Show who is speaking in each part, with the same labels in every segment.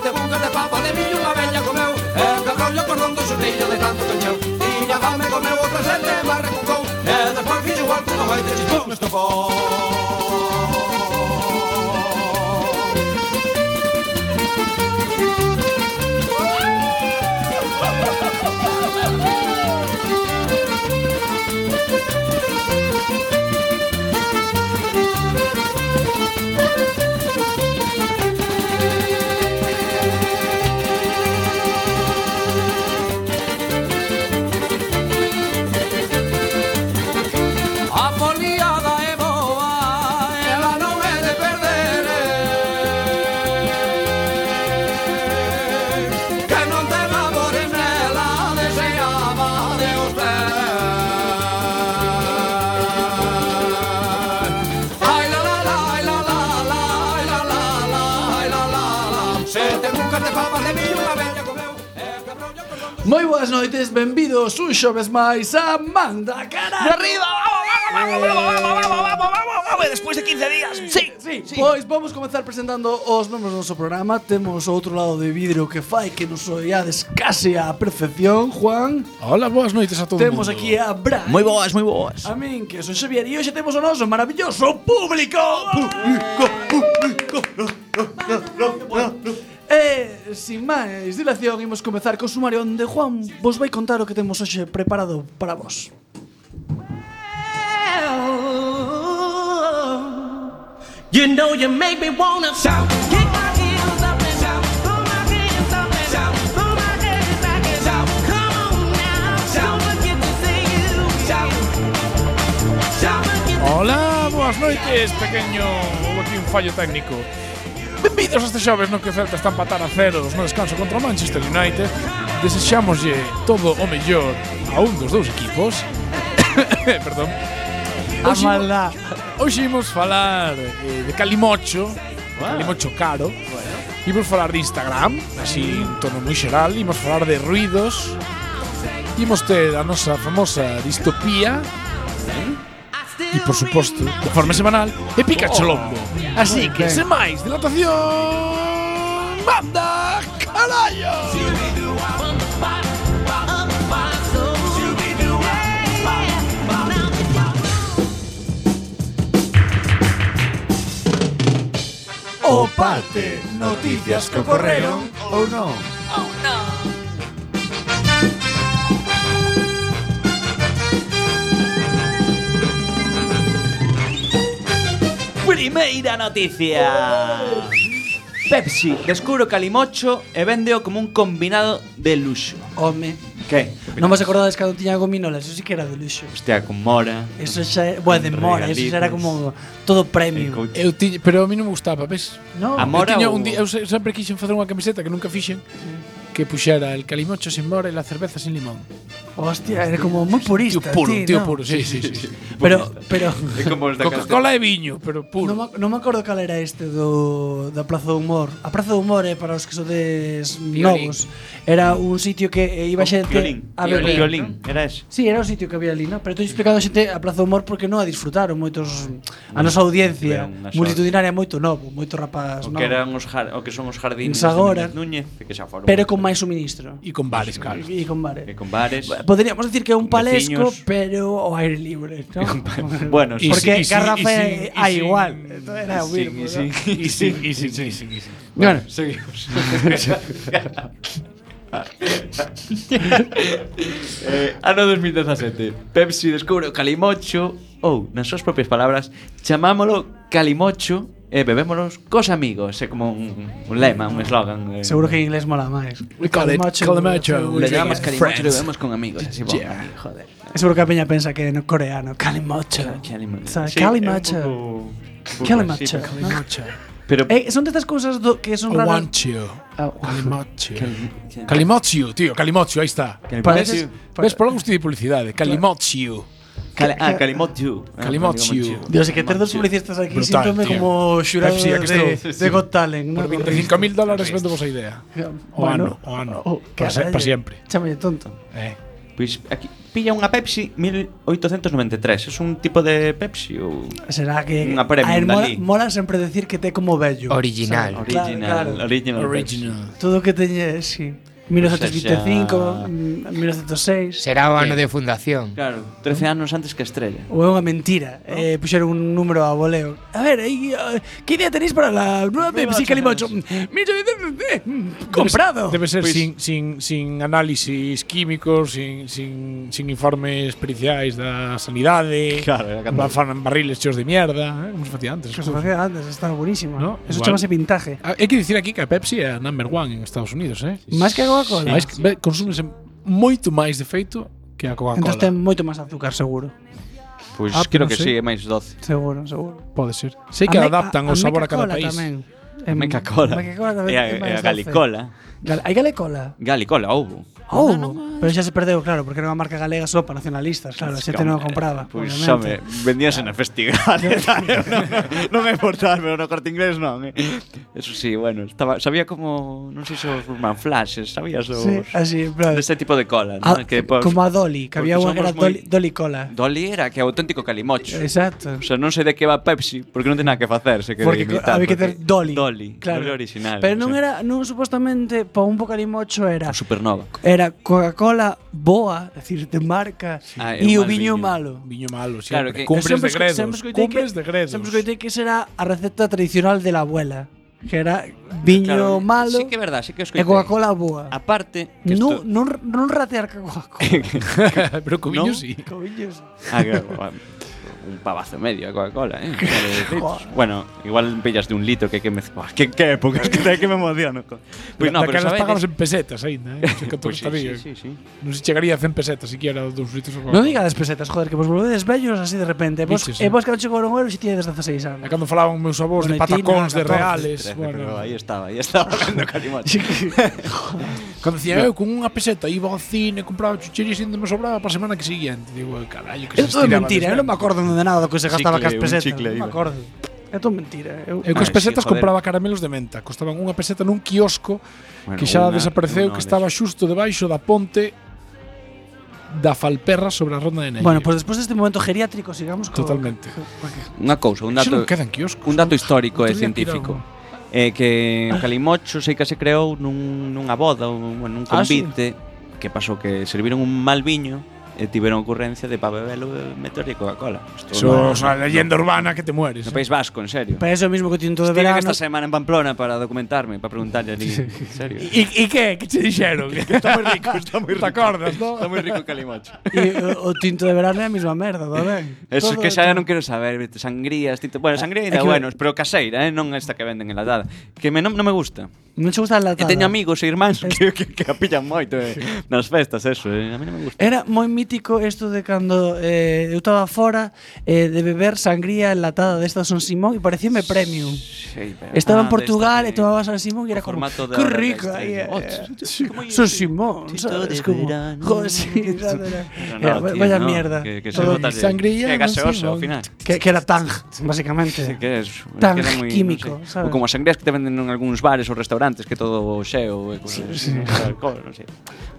Speaker 1: papa de miño unha veña comeu E de rollo con rondo xutillo de tanto cañeu Tiña fame comeu outra xente má recucou E despois fixo igual que no gaite chichón estofón A foliada é boa, ela non é de perder eh. Que non te labores nela, deseaba de usted Ai la la la, ai la la la, ai la la la, ai la la la Se te nunca te papas de mí unha veña comeu E o eh, cabrón yo con rondo
Speaker 2: Moi boas noites, benvidos un xoves máis a Manda
Speaker 3: ¡De
Speaker 2: Cara.
Speaker 3: arriba! ¡Vamos, vamos, vamos, vamos, vamos, vamos, vamos, vamos, vamos! Después de 15 días. Sí,
Speaker 2: Sí, Pois vamos comenzar presentando os membros do noso programa Temos outro lado de vidro que fai que nos oiades case á perfección, Juan
Speaker 4: Hola, boas noites a todo
Speaker 2: Temos
Speaker 4: mundo.
Speaker 2: aquí a Brian
Speaker 3: Muy boas, muy boas.
Speaker 2: A min, que son Xavier E hoxe temos o noso maravilloso público Público, público no, no, no, no, no. E, sin máis dilación, imos comezar co sumario onde Juan vos vai contar o que temos hoxe preparado para vos
Speaker 5: You know you make me wanna shout. Kick my heels up and shout. Throw my hands up and shout. Throw my hands back and shout. Come on now. Don't forget to say you. Shout. Don't forget to
Speaker 4: Hola, boas noites, pequeño. Houve aquí un fallo técnico. Benvidos a este xoves no que o Celta está a empatar a ceros no descanso contra o Manchester United. Desexámoslle todo o mellor a un dos dous equipos. Perdón.
Speaker 2: A maldad
Speaker 4: Hoxe imos falar eh, de Calimocho, de Calimocho caro. Bueno. Imos falar de Instagram, así en tono moi xeral, imos falar de ruidos. Imos ter a nosa famosa distopía e, por suposto, de forma semanal, e pica cholombo. Oh. Así que, sen máis dilatación, manda carallo!
Speaker 2: O parte
Speaker 1: Noticias que ocorreron
Speaker 2: ou non
Speaker 3: Primeira noticia. Pepsi descubre o calimocho e véndeo como un combinado de luxo.
Speaker 2: Home
Speaker 3: Que?
Speaker 2: Non vos acordades cando tiña gominolas, eso sí que era de luxo
Speaker 3: Hostia, con mora.
Speaker 2: Eso xa, é- bueno, de mora, eso xa era como todo premium
Speaker 3: Couch.
Speaker 4: Eu tiñe, pero a mí non me gustaba, ves?
Speaker 2: No,
Speaker 3: A
Speaker 5: Ah,
Speaker 3: mora
Speaker 4: eu tiña
Speaker 3: ou-
Speaker 4: un día, eu se- sempre quixen facer unha camiseta que nunca fixen, que puxera el calimocho sin mora e la cerveza sin limón.
Speaker 2: hostia, era como moi
Speaker 4: Tío
Speaker 2: purista
Speaker 4: puro,
Speaker 2: ti,
Speaker 4: tío
Speaker 2: non?
Speaker 4: puro, sí, sí, sí.
Speaker 2: Pero, pero
Speaker 6: É como os da Coca-Cola.
Speaker 4: Coca-Cola e viño, pero
Speaker 2: Non
Speaker 4: puro.
Speaker 2: me, non me acordo cal era este do, da Plaza do Humor A Plaza do Humor é para os que sodes
Speaker 4: Piolín.
Speaker 2: novos Era un sitio que eh,
Speaker 6: Oh,
Speaker 2: iba xente a ver
Speaker 6: Piolín.
Speaker 3: era eso.
Speaker 2: Sí, era o sitio que había ali, non? Pero estou explicando a xente a Plaza do Humor porque non a disfrutaron moitos a nosa audiencia
Speaker 6: tiveron unha sorte.
Speaker 2: multitudinaria é moito novo, moito
Speaker 3: Pues
Speaker 2: rapaz
Speaker 6: O
Speaker 2: novo.
Speaker 6: que eran os jar, o que son os jardines
Speaker 2: Pois agora.
Speaker 6: de Núñez, Núñez, que xa foron.
Speaker 2: Pero con máis suministro
Speaker 4: E con bares, claro.
Speaker 2: e con
Speaker 6: e
Speaker 2: bares.
Speaker 6: con bares.
Speaker 2: Poderíamos decir que é un palesco,
Speaker 6: Veciños.
Speaker 2: pero ao aire libre, non?
Speaker 6: bueno,
Speaker 4: Y
Speaker 2: porque
Speaker 4: si- y si-
Speaker 2: garrafa é
Speaker 4: y si- y
Speaker 2: a
Speaker 4: si-
Speaker 2: igual. Entón era o
Speaker 6: sí,
Speaker 2: mismo,
Speaker 6: sí,
Speaker 2: non?
Speaker 6: sí.
Speaker 4: E sin, e sin, e sin, e sin.
Speaker 2: Bueno,
Speaker 6: Seguimos. eh, ano 2017. Pepsi descubre o calimocho ou, nas súas propias palabras, chamámolo calimocho e bebémolos cos amigos. É como un, un lema, un eslogan. Eh.
Speaker 2: Seguro que en inglés mola máis.
Speaker 4: We call it Calamacho.
Speaker 6: Le llamamos calimocho
Speaker 4: Yeah,
Speaker 6: e
Speaker 4: friends.
Speaker 6: lo bebemos con amigos. Así, bo,
Speaker 4: Yeah.
Speaker 6: joder. eh,
Speaker 2: Seguro que a peña pensa que é no coreano. Calimocho.
Speaker 6: Calimocho.
Speaker 2: O sea,
Speaker 6: Sí,
Speaker 2: calimocho.
Speaker 6: é un pouco-
Speaker 2: Calimocho.
Speaker 6: Sí,
Speaker 2: ¿no?
Speaker 6: Pero
Speaker 2: Eh, son de estas cosas do- que son raras.
Speaker 4: Aguancho.
Speaker 2: Ah,
Speaker 4: Calimocho.
Speaker 6: Cal-
Speaker 4: Calimocho, tío, Calimocho, aí está.
Speaker 2: Pareces-
Speaker 4: Ves, por algo de publicidade. Calimocho.
Speaker 6: Cali- ah, Calimocho. Ah,
Speaker 4: Calimocho.
Speaker 2: Dios, es que tener dos publicistas aquí
Speaker 4: Brutal,
Speaker 2: síntome
Speaker 4: tío.
Speaker 2: como jurado
Speaker 4: Pepsi, ya que
Speaker 2: de,
Speaker 4: estou.
Speaker 2: de Got Talent. ¿no?
Speaker 4: Por 25.000
Speaker 2: oh, pues
Speaker 4: dólares vendo vos a idea. O ano, o ano. Para se- para siempre.
Speaker 2: Chámale tonto.
Speaker 4: Eh.
Speaker 6: Pois aquí pilla unha Pepsi 1893. Es un tipo de Pepsi ou
Speaker 7: Será que
Speaker 6: Unha premium
Speaker 7: a ver, mola,
Speaker 6: dali.
Speaker 7: mola sempre decir que te como bello.
Speaker 1: Original.
Speaker 7: Claro,
Speaker 6: original,
Speaker 7: claro.
Speaker 6: original. Pepsi.
Speaker 4: Original.
Speaker 7: Todo o que teñe, sí. 1925, mm, 1906.
Speaker 1: Será o ano de fundación.
Speaker 6: Claro, 13 anos antes que a estrella.
Speaker 7: Ou é unha mentira. Eh, puxeron un número a voleo. A ver, aí, eh, que idea tenéis para la nueva Pepsi Calimocho? Mm, Comprado.
Speaker 4: Debe ser
Speaker 6: Pois-
Speaker 4: sin, sin, sin análisis químicos, sin, sin, sin informes periciais da sanidade.
Speaker 6: Claro, era
Speaker 4: van fan barriles cheos de mierda, eh, como se facía antes.
Speaker 7: Que se
Speaker 4: cousas.
Speaker 7: facía Pues, antes, está buenísimo.
Speaker 4: No,
Speaker 7: Eso
Speaker 4: igual.
Speaker 7: chamase vintaje.
Speaker 4: Ah, Hay que decir aquí que a Pepsi é a number one en Estados Unidos, eh?
Speaker 7: Máis que a Coca-Cola.
Speaker 4: Máis que- ve- consúmese moito máis de feito que a Coca-Cola.
Speaker 7: Entón ten moito máis azúcar, seguro.
Speaker 6: Pois
Speaker 4: Ah,
Speaker 6: creo
Speaker 4: pero
Speaker 6: que
Speaker 4: sí.
Speaker 6: sí, é máis 12.
Speaker 7: Seguro, seguro.
Speaker 4: Pode ser. Sei que
Speaker 7: me-
Speaker 4: adaptan o sabor a cada
Speaker 7: Meca-Cola
Speaker 4: país.
Speaker 7: Tamén.
Speaker 6: A Meca-Cola.
Speaker 7: Meca-Cola tamén.
Speaker 6: E a, e
Speaker 7: é máis
Speaker 6: a
Speaker 7: doce.
Speaker 6: Galicola.
Speaker 7: Gal- Hai Galecola.
Speaker 6: Galicola, houbo.
Speaker 7: Oh, pero xa se perdeu, claro, porque era unha marca galega só para nacionalistas, claro, a xente non a compraba.
Speaker 6: Pois,
Speaker 7: obviamente.
Speaker 6: xome, vendíase na festival e tal, non, non é por tal, pero no corte inglés non, eh. Eso sí, bueno, estaba, sabía como, non sei se os Burman Flashes, sabías os...
Speaker 7: Sí, así, en plan.
Speaker 6: Deste tipo de cola,
Speaker 7: Ah,
Speaker 6: non? Que, pois,
Speaker 7: como a Dolly, que había
Speaker 6: porque
Speaker 7: unha que era
Speaker 6: somos moi-
Speaker 7: Dolly, Dolly Cola.
Speaker 6: Dolly era que auténtico calimocho.
Speaker 7: Exacto.
Speaker 6: O sea, non sei de que va Pepsi, porque non ten nada que facer, se que
Speaker 7: Porque
Speaker 6: imitar,
Speaker 7: había que ter
Speaker 6: porque-
Speaker 7: Dolly.
Speaker 6: Dolly,
Speaker 7: claro.
Speaker 6: Dolly original.
Speaker 7: Pero
Speaker 6: o
Speaker 7: non
Speaker 6: sea,
Speaker 7: era, non supostamente, pa un bocalimocho era
Speaker 6: un Supernova.
Speaker 7: era Coca-Cola boa, é dicir, de marca,
Speaker 6: Ah, e
Speaker 7: e
Speaker 6: o
Speaker 7: o
Speaker 6: mal
Speaker 7: viño,
Speaker 6: viño.
Speaker 7: malo.
Speaker 4: Viño malo,
Speaker 6: Claro
Speaker 4: sempre.
Speaker 6: que-
Speaker 4: Cumbres de
Speaker 7: Sempre esco-
Speaker 4: gredos.
Speaker 7: sempre escoitei
Speaker 4: Cumbres
Speaker 7: que-
Speaker 4: de gredos.
Speaker 7: Sempre escoitei que será a receta tradicional de la abuela, que era viño
Speaker 6: Claro,
Speaker 7: malo
Speaker 6: Sí que é verdad, sí que os
Speaker 7: e Coca-Cola boa.
Speaker 6: Aparte, que
Speaker 7: Non
Speaker 6: isto-
Speaker 7: non non ratear ca Coca-Cola.
Speaker 4: Pero co viño
Speaker 6: Non.
Speaker 4: sí.
Speaker 7: Cobiños.
Speaker 6: Ah, que, bueno, un pavazo medio a Coca-Cola, eh. Claro, de litros.
Speaker 7: Joder.
Speaker 6: bueno, igual pillas de un litro que que me Buah, que que épocas que que me emociono. co. Pois non,
Speaker 4: Da-
Speaker 6: Pues pero
Speaker 4: daquelas pagamos
Speaker 6: sabedes.
Speaker 4: en pesetas aínda, eh?
Speaker 6: Pois sí, sí, sí, sí.
Speaker 4: Non se chegaría a 100 pesetas siquiera dos litros.
Speaker 7: Non digades pesetas, joder, que vos volvedes vellos así de repente. E vos,
Speaker 4: Bichos, eh.
Speaker 7: e vos que non chegou o euro xe tiñedes 16 anos.
Speaker 4: E cando falaban meus avós de
Speaker 7: Bueno, e ti,
Speaker 4: patacóns
Speaker 7: nada,
Speaker 4: de
Speaker 7: 14,
Speaker 4: reales,
Speaker 6: Pero
Speaker 4: bueno.
Speaker 6: aí estaba, aí estaba vendo calimocho.
Speaker 4: Cando dicía, eu "Eh, con unha peseta iba ao cine, compraba chucherías e ainda me sobraba para a semana que seguinte. Digo, "Eh, carallo, que se
Speaker 7: É todo
Speaker 4: estiraba
Speaker 7: mentira, eu
Speaker 4: desde
Speaker 7: non me acordo de nada do que se
Speaker 6: Chicle,
Speaker 7: gastaba cas
Speaker 6: un
Speaker 7: pesetas.
Speaker 6: chicle iba.
Speaker 7: Non me acordo. É todo mentira. Eu,
Speaker 4: Eu
Speaker 6: Ah,
Speaker 4: cos
Speaker 6: sí,
Speaker 4: pesetas
Speaker 6: joder.
Speaker 4: compraba caramelos de menta, costaban unha peseta nun quiosco
Speaker 6: Bueno,
Speaker 4: que xa
Speaker 6: unha-
Speaker 4: desapareceu,
Speaker 6: unha
Speaker 4: que estaba xusto debaixo da ponte da Falperra sobre a Ronda de Neira.
Speaker 7: Bueno, pois pues despois deste momento geriátrico sigamos co
Speaker 4: Totalmente.
Speaker 6: Unha cousa, un
Speaker 4: Xa
Speaker 6: dato
Speaker 4: non quedan quioscos.
Speaker 6: un dato histórico e
Speaker 4: Outro día
Speaker 6: científico.
Speaker 4: tiraron.
Speaker 6: É que o calimocho sei que se creou nun, nunha boda, un, bueno, nun
Speaker 7: Ah, sí.
Speaker 6: convite, que pasou que serviron un mal viño e tiveron ocurrencia de pa bebelo meterlle Coca-Cola. Isto
Speaker 4: Eso
Speaker 6: no-
Speaker 4: é unha leyenda urbana que te
Speaker 6: No
Speaker 4: mueres. eh.
Speaker 6: País Vasco, en serio.
Speaker 7: Para eso mismo que tiñen todo de
Speaker 6: Estive esta
Speaker 7: verano.
Speaker 6: semana en Pamplona para documentarme, para preguntarle allí. En serio.
Speaker 4: E que? Que che dixeron? Está moi rico, está moi rico. Te acordas, no?
Speaker 6: Está moi rico o calimocho.
Speaker 7: E o, o tinto de verano é a mesma merda, tamén.
Speaker 6: Eso
Speaker 7: Todo-
Speaker 6: que xa non quero saber, vete, sangrías, tito, bueno, sangría
Speaker 7: É
Speaker 6: ainda
Speaker 7: que-
Speaker 6: bueno, pero caseira, eh, non esta que venden enlatada, que me non, non me gusta.
Speaker 7: Non che gusta a
Speaker 6: E
Speaker 7: latada.
Speaker 6: teño amigos e irmáns que, que, que a pillan moito eh, nas festas, eso, eh, a mí non me gusta.
Speaker 7: Era moi mítico isto de cando eh, eu estaba fora eh, de beber sangría enlatada desta San Simón e parecíame premium.
Speaker 6: Sí, pero-
Speaker 7: Estaba
Speaker 6: Ah,
Speaker 7: en Portugal
Speaker 6: desta
Speaker 7: e
Speaker 6: de-
Speaker 7: tomaba San Simón e
Speaker 6: o
Speaker 7: era como
Speaker 6: formato de
Speaker 7: que
Speaker 6: ahora de
Speaker 7: rico
Speaker 6: Estrella".
Speaker 7: aí. eh,
Speaker 6: Oh,
Speaker 7: eh, San Simón,
Speaker 6: Tinto
Speaker 7: sabes
Speaker 6: de
Speaker 7: como
Speaker 6: verano.
Speaker 7: Joder, sí, sabes, era-
Speaker 6: Pero
Speaker 7: era,
Speaker 6: tío,
Speaker 7: eh, Vaya
Speaker 6: no,
Speaker 7: mierda
Speaker 6: Que, que se
Speaker 7: Todo-
Speaker 6: nota Que
Speaker 4: Sangría,
Speaker 6: é
Speaker 4: non sei,
Speaker 6: gaseoso, ao
Speaker 4: non.
Speaker 6: final.
Speaker 7: que, que era tan, basicamente
Speaker 6: Que es,
Speaker 7: Tan
Speaker 6: queda moi, non
Speaker 7: químico,
Speaker 6: sei.
Speaker 7: sabes?
Speaker 6: Ou como as sangrías que te venden en algúns bares ou restaurantes que todo xeo e cosas sí, sí. alcohol, non sei.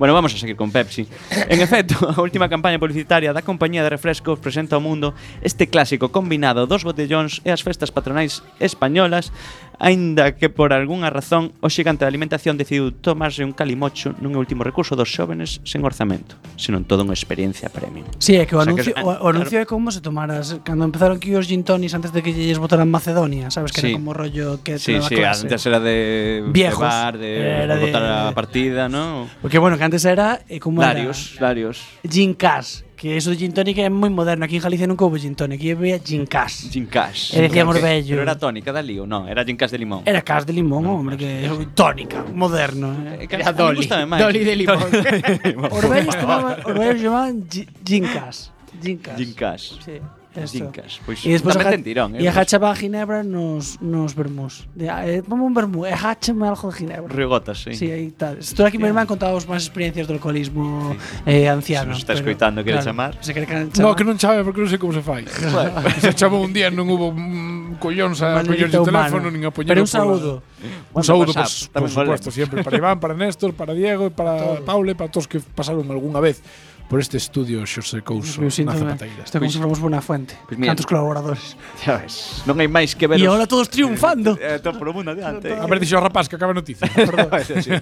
Speaker 6: Bueno, vamos a seguir con Pepsi. En efecto, a última campaña publicitaria da compañía de refrescos presenta ao mundo este clásico combinado dos botellóns e as festas patronais españolas Ainda que por algunha razón o xigante da alimentación decidiu tomarse un calimocho nun último recurso dos xóvenes sen orzamento, senón toda unha experiencia premium.
Speaker 7: Sí, é que
Speaker 6: O
Speaker 7: o
Speaker 6: sea, que es-
Speaker 7: anuncio, o, o anuncio é como se tomaras cando empezaron aquí os gin tonis antes de que lles botaran Macedonia, sabes que
Speaker 6: Sí.
Speaker 7: era como rollo que
Speaker 6: Sí,
Speaker 7: te daba
Speaker 6: sí,
Speaker 7: clase.
Speaker 6: antes era de de
Speaker 7: Viejos.
Speaker 6: bar, de
Speaker 7: Era de-
Speaker 6: botar a partida, ¿no?
Speaker 7: Porque bueno, que antes era eh, como
Speaker 6: Darius, Darius.
Speaker 7: era gin cash, que eso de gin tonic é moi moderno, aquí en Galicia nunca houbo gin tonic, aquí había gin cash.
Speaker 6: Gin Cash.
Speaker 7: E decíamos
Speaker 6: Pero que-
Speaker 7: bello.
Speaker 6: Pero era tónica da lío, no, era Gin Cash de limón.
Speaker 7: Era cash de limón, hombre, que é tónica, moderno. Eh.
Speaker 6: Era Dolly.
Speaker 1: Dolly de limón.
Speaker 7: Orbellos tomaban, Orbellos llamaban gi- gin cash, gin cash.
Speaker 6: Gin Cash.
Speaker 7: Sí.
Speaker 6: Gin
Speaker 7: eso.
Speaker 6: Cash. Pois
Speaker 7: E despois
Speaker 6: tamén
Speaker 7: aja-
Speaker 6: ten tirón, eh.
Speaker 7: E agachaba a Ginebra nos, nos vermús. De, ah, eh, vamos a un vermú, e agachame algo de Ginebra.
Speaker 6: Rigotas, sí.
Speaker 7: Sí, aí tal. Estou aquí, mi irmán, contábamos máis experiencias do alcoholismo eh, anciano.
Speaker 6: Se nos está
Speaker 7: pero,
Speaker 6: escoitando, quere chamar?
Speaker 7: Se quere can-
Speaker 4: No,
Speaker 7: chamar.
Speaker 4: que non sabe porque non sei como se fai. se chamou un día non hubo mm, collóns a
Speaker 7: Manuelito
Speaker 4: collóns de
Speaker 7: humano.
Speaker 4: teléfono nin a poñer
Speaker 7: Pero un saúdo.
Speaker 4: Un
Speaker 6: Manda
Speaker 4: saúdo,
Speaker 6: WhatsApp, tamén
Speaker 4: pues, por
Speaker 6: volvemos.
Speaker 4: supuesto, siempre para Iván, para Néstor, para Diego, e para Paule, para todos que pasaron algunha vez por este estudio Xosé
Speaker 6: Pues,
Speaker 4: Couso na
Speaker 7: Meu síntoma
Speaker 4: Zapateira.
Speaker 7: Isto é como se formos buena fuente
Speaker 6: Pois Pues mira.
Speaker 7: Cantos colaboradores
Speaker 6: Xa ves, non hai máis que ver
Speaker 7: E agora todos triunfando
Speaker 6: eh, todo por o mundo adiante.
Speaker 4: A ver, dixo o rapaz que acaba a noticia.
Speaker 6: Sí.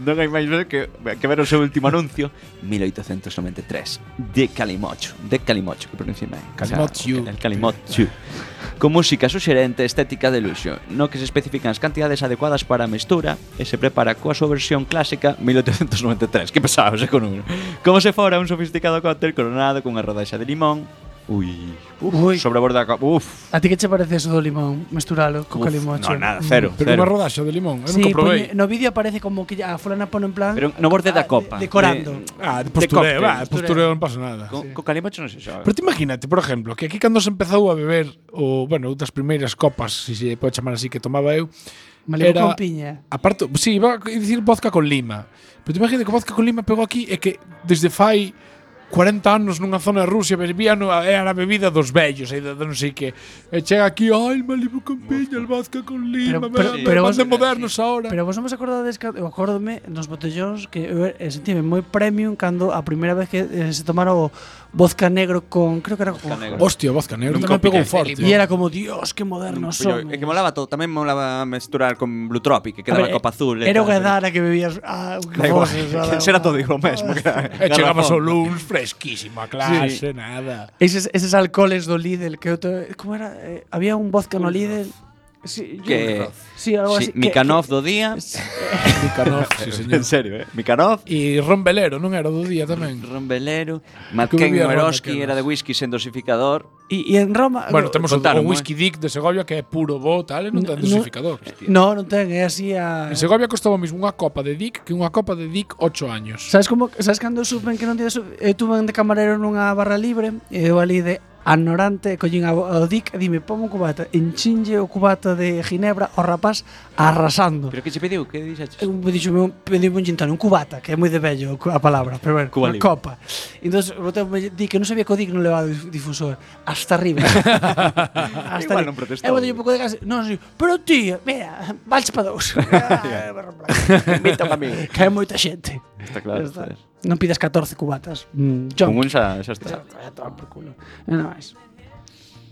Speaker 6: non hai máis ver que, que ver o seu último anuncio 1893 de Calimocho de Calimocho que pronuncia ben
Speaker 4: Calimocho.
Speaker 6: O sea, el Calimocho con música suxerente estética de luxo no que se especifican as cantidades adecuadas para a mestura e se prepara coa súa versión clásica 1893 que pesado ese con número como se fora un sofisticado cóctel coronado cunha rodaxa de limón Ui, uf,
Speaker 7: Ui.
Speaker 6: sobreborda ca- Uf,
Speaker 7: A ti que che parece eso do limón? Mesturalo co
Speaker 6: uf,
Speaker 7: calimocho
Speaker 6: No, nada, cero,
Speaker 4: Pero
Speaker 6: cero.
Speaker 4: unha rodaxa de limón, eu
Speaker 7: Mm. Sí,
Speaker 4: nunca probei.
Speaker 7: poñe- no vídeo aparece como que a fulana pone en plan
Speaker 6: Pero no borde da
Speaker 7: ah, de-
Speaker 6: copa
Speaker 7: Decorando
Speaker 6: De-
Speaker 4: Ah, de
Speaker 6: cóctel,
Speaker 4: postureo, va, de
Speaker 6: postureo.
Speaker 4: postureo non pasa nada.
Speaker 6: Con, co calimocho non se xoga
Speaker 4: Pero te imagínate, por exemplo, que aquí cando se empezou a beber o, bueno, outras primeiras copas, se si se pode chamar así que tomaba eu,
Speaker 7: Malibu
Speaker 4: era-
Speaker 7: con piña
Speaker 4: aparte, si, sí, iba a dicir vodka con lima. Pero te imagínate que vodka con lima pegou aquí e que desde fai 40 anos nunha zona de Rusia bebían a- era a bebida dos vellos, aí de, de non sei que. E chega aquí, ai, Malibu con piña, el vodka con lima,
Speaker 7: Pero- pero-
Speaker 4: me,
Speaker 7: pero
Speaker 4: me
Speaker 7: vos-
Speaker 4: manden modernos ahora.
Speaker 7: Pero vos non vos acordades que, eu acórdome nos botellóns que eu eh, sentíme moi premium cando a primeira vez que eh, se tomara o vodka negro con, creo que era con
Speaker 6: negro.
Speaker 4: Hostia, vodka negro
Speaker 6: Nunca
Speaker 4: tamén pegou
Speaker 6: picaste
Speaker 4: forte.
Speaker 7: E era como, Dios, que modernos
Speaker 6: Pero, é
Speaker 7: son.
Speaker 6: que molaba todo, tamén molaba mesturar con Blue Tropic, que
Speaker 7: A
Speaker 6: quedaba
Speaker 7: ver,
Speaker 6: copa azul. e
Speaker 7: Era o
Speaker 6: tal, pero-
Speaker 7: Gadara que bebías. Ah, o que
Speaker 6: Da igual,
Speaker 7: foses, ah, da
Speaker 6: era
Speaker 7: igual.
Speaker 6: todo igual mesmo. que era-
Speaker 7: Eh,
Speaker 4: E chegabas
Speaker 6: garrafón.
Speaker 4: ao lunes fresquísimo a clase, nada.
Speaker 7: Eses, eses alcoholes do Lidl que eu te, como era? Eh, había un vodka no Lidl. Sí,
Speaker 6: Que-
Speaker 7: sí, algo
Speaker 6: Sí,
Speaker 7: así. que-
Speaker 6: Mikanov do día.
Speaker 4: Nicanor, sí, señor.
Speaker 6: En serio, eh? Mikanov,
Speaker 4: E Ron Belero, non era do día tamén?
Speaker 6: Rombelero,
Speaker 4: Que
Speaker 6: Matken
Speaker 4: bebía Ron
Speaker 6: Moeroski
Speaker 4: Matken.
Speaker 6: era de whisky sen dosificador.
Speaker 7: Y, y en Roma.
Speaker 4: Bueno, temos o, o
Speaker 6: contaron,
Speaker 4: whisky Dick de Segovia que é puro bo, tal, e non ten
Speaker 7: No, no.
Speaker 4: dosificador.
Speaker 7: No, non ten, é así a.
Speaker 4: En Segovia costaba o mismo unha copa de Dick que unha copa de Dick 8 años.
Speaker 7: Sabes como sabes cando supen que non tiras eu tuve de camarero nunha barra libre e eu ali de anorante collín a- ao Dick e dime pon un cubata enchinlle o cubata de ginebra ao rapaz arrasando
Speaker 6: Pero que che pediu? Que dixaches?
Speaker 7: Eu me dixo un pediu un gintano, un cubata, que é moi de bello a palabra, pero bueno,
Speaker 6: Cuba
Speaker 7: unha
Speaker 6: libre.
Speaker 7: copa. Entón, botei di que non sabía que o Dick non levaba dif- difusor. Hasta arriba. Hasta
Speaker 6: Igual
Speaker 7: arriba.
Speaker 6: non protestou.
Speaker 7: Eu botei un pouco de gas. Non, sí, pero tía, mira, vals para dous. Ah,
Speaker 6: Invítame a mí.
Speaker 7: Cae moita xente.
Speaker 6: Está claro.
Speaker 7: Está.
Speaker 6: joder.
Speaker 7: Non pidas 14 cubatas.
Speaker 6: Con
Speaker 7: Mm, John.
Speaker 6: un xa, xa está.
Speaker 7: Vaya tomar por culo. E nada máis.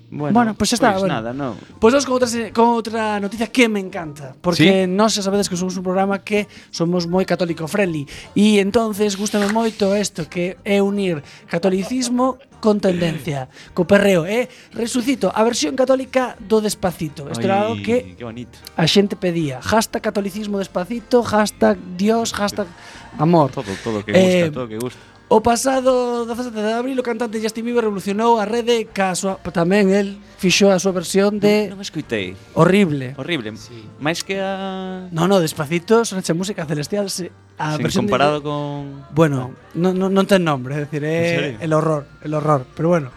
Speaker 6: Bueno,
Speaker 7: Bueno, pues xa está,
Speaker 6: Pues
Speaker 7: bueno.
Speaker 6: nada, no.
Speaker 7: Pois vamos con outra, se- con outra noticia que me encanta Porque nós xa sabedes que somos un programa que somos moi católico friendly E entonces gustame moito isto que é unir catolicismo con tendencia Co perreo, é resucito a versión católica do despacito Isto era algo
Speaker 6: Ay,
Speaker 7: que
Speaker 6: Que bonito.
Speaker 7: a xente pedía Hashtag catolicismo despacito, hashtag dios, hashtag amor
Speaker 6: Todo, todo que
Speaker 7: Eh,
Speaker 6: gusta, todo que gusta.
Speaker 7: O pasado 17 de abril o cantante Justin Bieber revolucionou a rede ca súa, tamén el fixo a súa versión de
Speaker 6: Non escoitei.
Speaker 7: Horrible.
Speaker 6: Horrible. Máis que a...
Speaker 7: No, no, despacito, son hecha música celestial se, a
Speaker 6: Sen
Speaker 7: versión Ah,
Speaker 6: comparado
Speaker 7: de-
Speaker 6: con...
Speaker 7: Bueno, no, no, non ten nombre, é dicir,
Speaker 6: En
Speaker 7: é
Speaker 6: serio?
Speaker 7: el horror, el horror, pero bueno.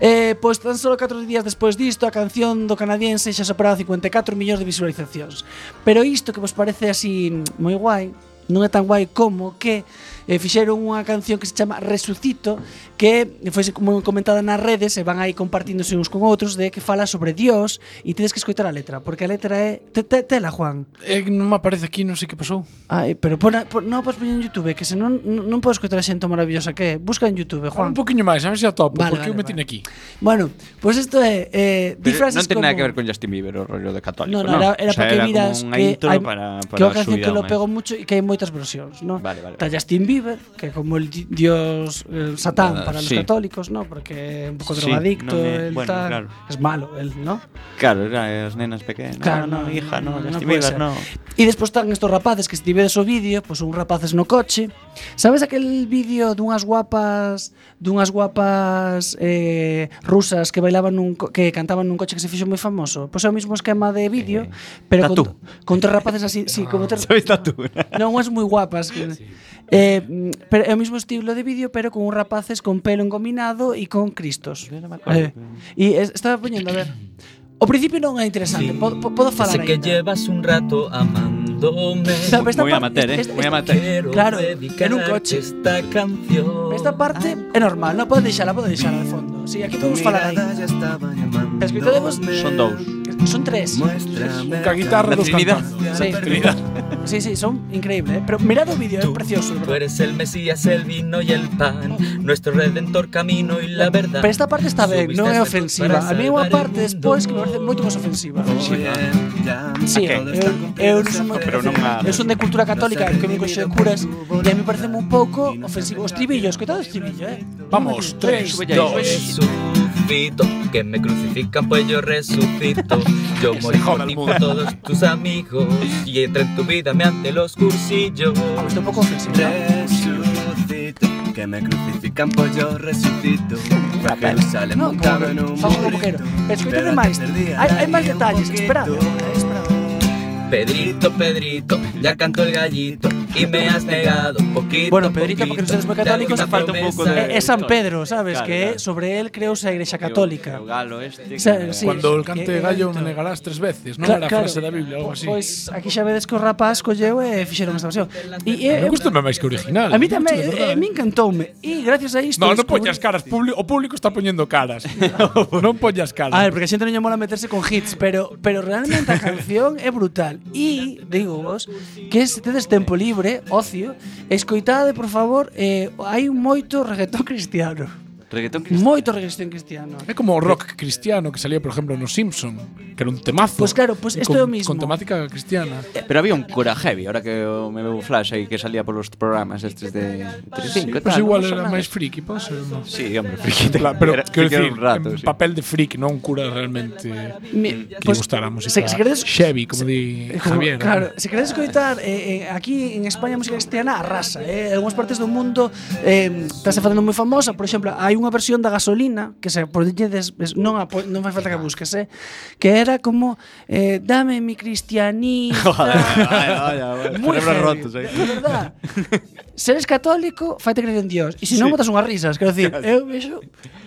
Speaker 7: Eh, pois tan solo 4 días despois disto, a canción do canadiense xa superaba 54 millóns de visualizacións. Pero isto que vos parece así moi guai, non é tan guai como que eh, fixeron unha canción que se chama Resucito, que foi moi comentada nas redes e van aí compartíndose uns con outros de que fala sobre Dios e tedes que escoitar a letra, porque a letra é te, te, tela, Juan.
Speaker 4: Eh, non me aparece aquí, non sei que pasou.
Speaker 7: Ai, pero pon, a- pon non podes poñer en YouTube, que senón non, non podes escoitar a xente maravillosa que é. Busca en YouTube,
Speaker 4: Juan.
Speaker 7: Juan.
Speaker 4: Un poquinho máis, a ver se atopo,
Speaker 7: Vale,
Speaker 4: porque eu me
Speaker 7: vale,
Speaker 4: tiñe
Speaker 7: vale.
Speaker 4: aquí.
Speaker 7: Bueno, pois pues isto é eh, di
Speaker 6: Pero non
Speaker 7: frases
Speaker 6: ten
Speaker 7: como
Speaker 6: nada que ver con Justin Bieber o rollo de católico,
Speaker 7: No, no, era, era
Speaker 6: O sea,
Speaker 7: porque
Speaker 6: como
Speaker 7: miras
Speaker 6: unha
Speaker 7: que
Speaker 6: intro
Speaker 7: hai,
Speaker 6: para, para
Speaker 7: que
Speaker 6: a
Speaker 7: é unha canción
Speaker 6: subida
Speaker 7: que lo
Speaker 6: máis.
Speaker 7: pegou mucho e que hai moitas versións, ¿no?
Speaker 6: Vale, vale,
Speaker 7: Está Justin Bieber, que é como el di- dios el satán
Speaker 6: Ah,
Speaker 7: para los
Speaker 6: sí.
Speaker 7: católicos, ¿no? Porque é un pouco
Speaker 6: Sí,
Speaker 7: drogadicto,
Speaker 6: non é-
Speaker 7: el
Speaker 6: bueno,
Speaker 7: tal,
Speaker 6: claro.
Speaker 7: es malo, el, ¿no?
Speaker 6: Claro, era as nenas pequenas.
Speaker 7: Claro,
Speaker 6: no, no,
Speaker 7: no,
Speaker 6: hija, no,
Speaker 7: no,
Speaker 6: Justin
Speaker 7: no puede
Speaker 6: Bieber,
Speaker 7: ser.
Speaker 6: no.
Speaker 7: E despois están estos rapaces que se tivedes o vídeo, pois son rapaces no coche. Sabes aquel vídeo dunhas guapas, dunhas guapas eh, rusas que bailaban nun co- que cantaban nun coche que se fixo moi famoso? Pois é o mismo esquema de vídeo,
Speaker 6: Eh,
Speaker 7: pero con,
Speaker 6: Tatú.
Speaker 7: con tres rapaces así, sí, como tres
Speaker 6: Sabes tú?
Speaker 7: Non, unhas moi guapas. Que, eh, mm, pero é o mismo estilo de vídeo, pero con un rapaces con pelo engominado e con cristos. Eh, e es- estaba poñendo, a ver. O principio non é interesante, podo, podo falar
Speaker 8: Sé que
Speaker 7: aínda.
Speaker 8: llevas un rato amándome.
Speaker 7: Esta, esta
Speaker 6: Muy
Speaker 7: parte-
Speaker 6: amateur, eh.
Speaker 7: esta-
Speaker 6: Muy
Speaker 7: esta-
Speaker 6: amateur.
Speaker 7: Claro,
Speaker 8: dedicarte
Speaker 7: en un coche.
Speaker 8: Esta canción.
Speaker 7: Esta parte é normal, non podes deixala, podes deixala de fondo. Si, sí, aquí
Speaker 8: Tu
Speaker 7: podemos falar aí.
Speaker 8: mirada ya estaba llamándome.
Speaker 7: Escoitademos
Speaker 6: Son dous.
Speaker 7: Son tres.
Speaker 4: Ca guitarra
Speaker 6: La
Speaker 4: dos
Speaker 6: Trinidad.
Speaker 4: cantantes.
Speaker 7: Sí. sí, sí, son increíbles. ¿eh? Pero mirad un vídeo, es
Speaker 8: Tú,
Speaker 7: precioso. de
Speaker 8: tú
Speaker 7: verdad.
Speaker 8: eres el Mesías, el vino y el pan, nuestro redentor camino y la verdad.
Speaker 7: Pero esta parte está bien,
Speaker 8: Subiste
Speaker 7: no
Speaker 8: a
Speaker 7: es
Speaker 8: esta para
Speaker 7: ofensiva. A mí hay
Speaker 8: salvar
Speaker 7: unha
Speaker 8: el
Speaker 7: parte
Speaker 8: mundo.
Speaker 7: despois que me parece moito máis ofensiva. Sí, eu, eu non son,
Speaker 6: Pero non a-
Speaker 7: eu son de cultura católica, que me coxe de curas, e a mí parece un pouco ofensivo. Os tribillos, coitado os tribillos, eh?
Speaker 4: Vamos, tres,
Speaker 6: Sube ya, sube ya.
Speaker 4: dos.
Speaker 8: Resucito, que me crucifican pues yo resucito. Yo morí
Speaker 4: joda el
Speaker 8: por ti,
Speaker 4: mundo.
Speaker 8: por todos tus amigos y entré en tu vida mediante los cursillos.
Speaker 7: Isto é un pouco ofensivo, non?
Speaker 8: Resucito, que me crucifican pues yo resucito. Para Jerusalén
Speaker 7: No, como
Speaker 8: montado
Speaker 7: que-
Speaker 8: en un
Speaker 7: fago como quero.
Speaker 8: burrito.
Speaker 7: Pero escoitade
Speaker 8: Pero
Speaker 7: máis.
Speaker 8: antes del día
Speaker 7: Hai, hai
Speaker 8: la
Speaker 7: máis
Speaker 8: lié un
Speaker 7: detalles,
Speaker 8: poquito.
Speaker 7: esperade. esperade.
Speaker 8: Pedrito, Pedrito, ya canto el gallito y me has negado poquito.
Speaker 7: Bueno, Pedrito, porque
Speaker 8: poquito,
Speaker 7: nosotros muy
Speaker 8: la
Speaker 7: católicos,
Speaker 8: última
Speaker 6: falta un poco de-
Speaker 8: promesa.
Speaker 7: É, é Eh, San Pedro, sabes,
Speaker 6: Claro,
Speaker 7: que
Speaker 6: claro.
Speaker 7: sobre él creouse a Igrexa Católica.
Speaker 6: O galo este.
Speaker 7: O sea,
Speaker 6: que-
Speaker 7: sí.
Speaker 4: Cuando el cante de gallo me
Speaker 7: Pedrito.
Speaker 4: negarás tres veces, ¿no? Era
Speaker 7: Cla-
Speaker 4: frase da Biblia, algo así.
Speaker 7: Pois aquí xa vedes que o rapaz colleu e fixeron esta versión. E é,
Speaker 4: me gusta máis que original.
Speaker 7: eh, a
Speaker 4: me
Speaker 7: mí
Speaker 4: gusta
Speaker 7: tamén,
Speaker 4: de verdad,
Speaker 7: eh, eh, me encantoume. E gracias a isto
Speaker 4: No, no
Speaker 7: descubrí-
Speaker 4: poñas caras. publi- o público está poñendo caras. non poñas caras.
Speaker 7: A ver, porque a xente non lle mola meterse con hits, pero pero realmente a canción é brutal. E digo vos que se tedes tempo libre, ocio, escoitade, por favor, eh, hai moito reggaetón cristiano.
Speaker 6: Reggaetón cristiano.
Speaker 7: Moito reggaetón cristiano.
Speaker 4: É como o rock cristiano que salía, por exemplo, nos Simpson, que era un temazo.
Speaker 7: Pois Pues claro, pois isto
Speaker 4: con-
Speaker 7: é o mismo. Eh,
Speaker 4: Con temática cristiana.
Speaker 6: Pero había un cura heavy, ahora que o me veo flash aí que salía polos programas estes de 35 e
Speaker 7: pues
Speaker 4: Pois
Speaker 6: tal.
Speaker 4: igual
Speaker 6: non
Speaker 4: era
Speaker 6: son
Speaker 4: máis friki, pode
Speaker 7: eh,
Speaker 4: ser,
Speaker 6: nada.
Speaker 4: non?
Speaker 6: Sí, hombre, friki.
Speaker 4: Pla- Pero,
Speaker 6: era,
Speaker 4: quero
Speaker 6: friki era
Speaker 4: decir,
Speaker 6: un rato,
Speaker 4: en
Speaker 6: sí.
Speaker 4: papel de freak, non un cura realmente que
Speaker 7: Mi-
Speaker 4: pues,
Speaker 7: pois-
Speaker 4: gustara a música
Speaker 7: se- se queredes-
Speaker 4: Chevy, como di
Speaker 7: Como-
Speaker 4: Javier.
Speaker 7: Claro, se queredes escoitar eh, eh, aquí en España a música cristiana arrasa, eh, en algunhas partes do mundo eh, estase facendo moi famosa, por exemplo, hai unha versión da gasolina que se podedes es- non a, po- non fai falta que a busques, eh, que era como eh, dame mi cristianista. Moi heavy, de verdad. Se eres católico, faite creer en Dios. E se non botas unhas risas, quero dicir, eu vexo,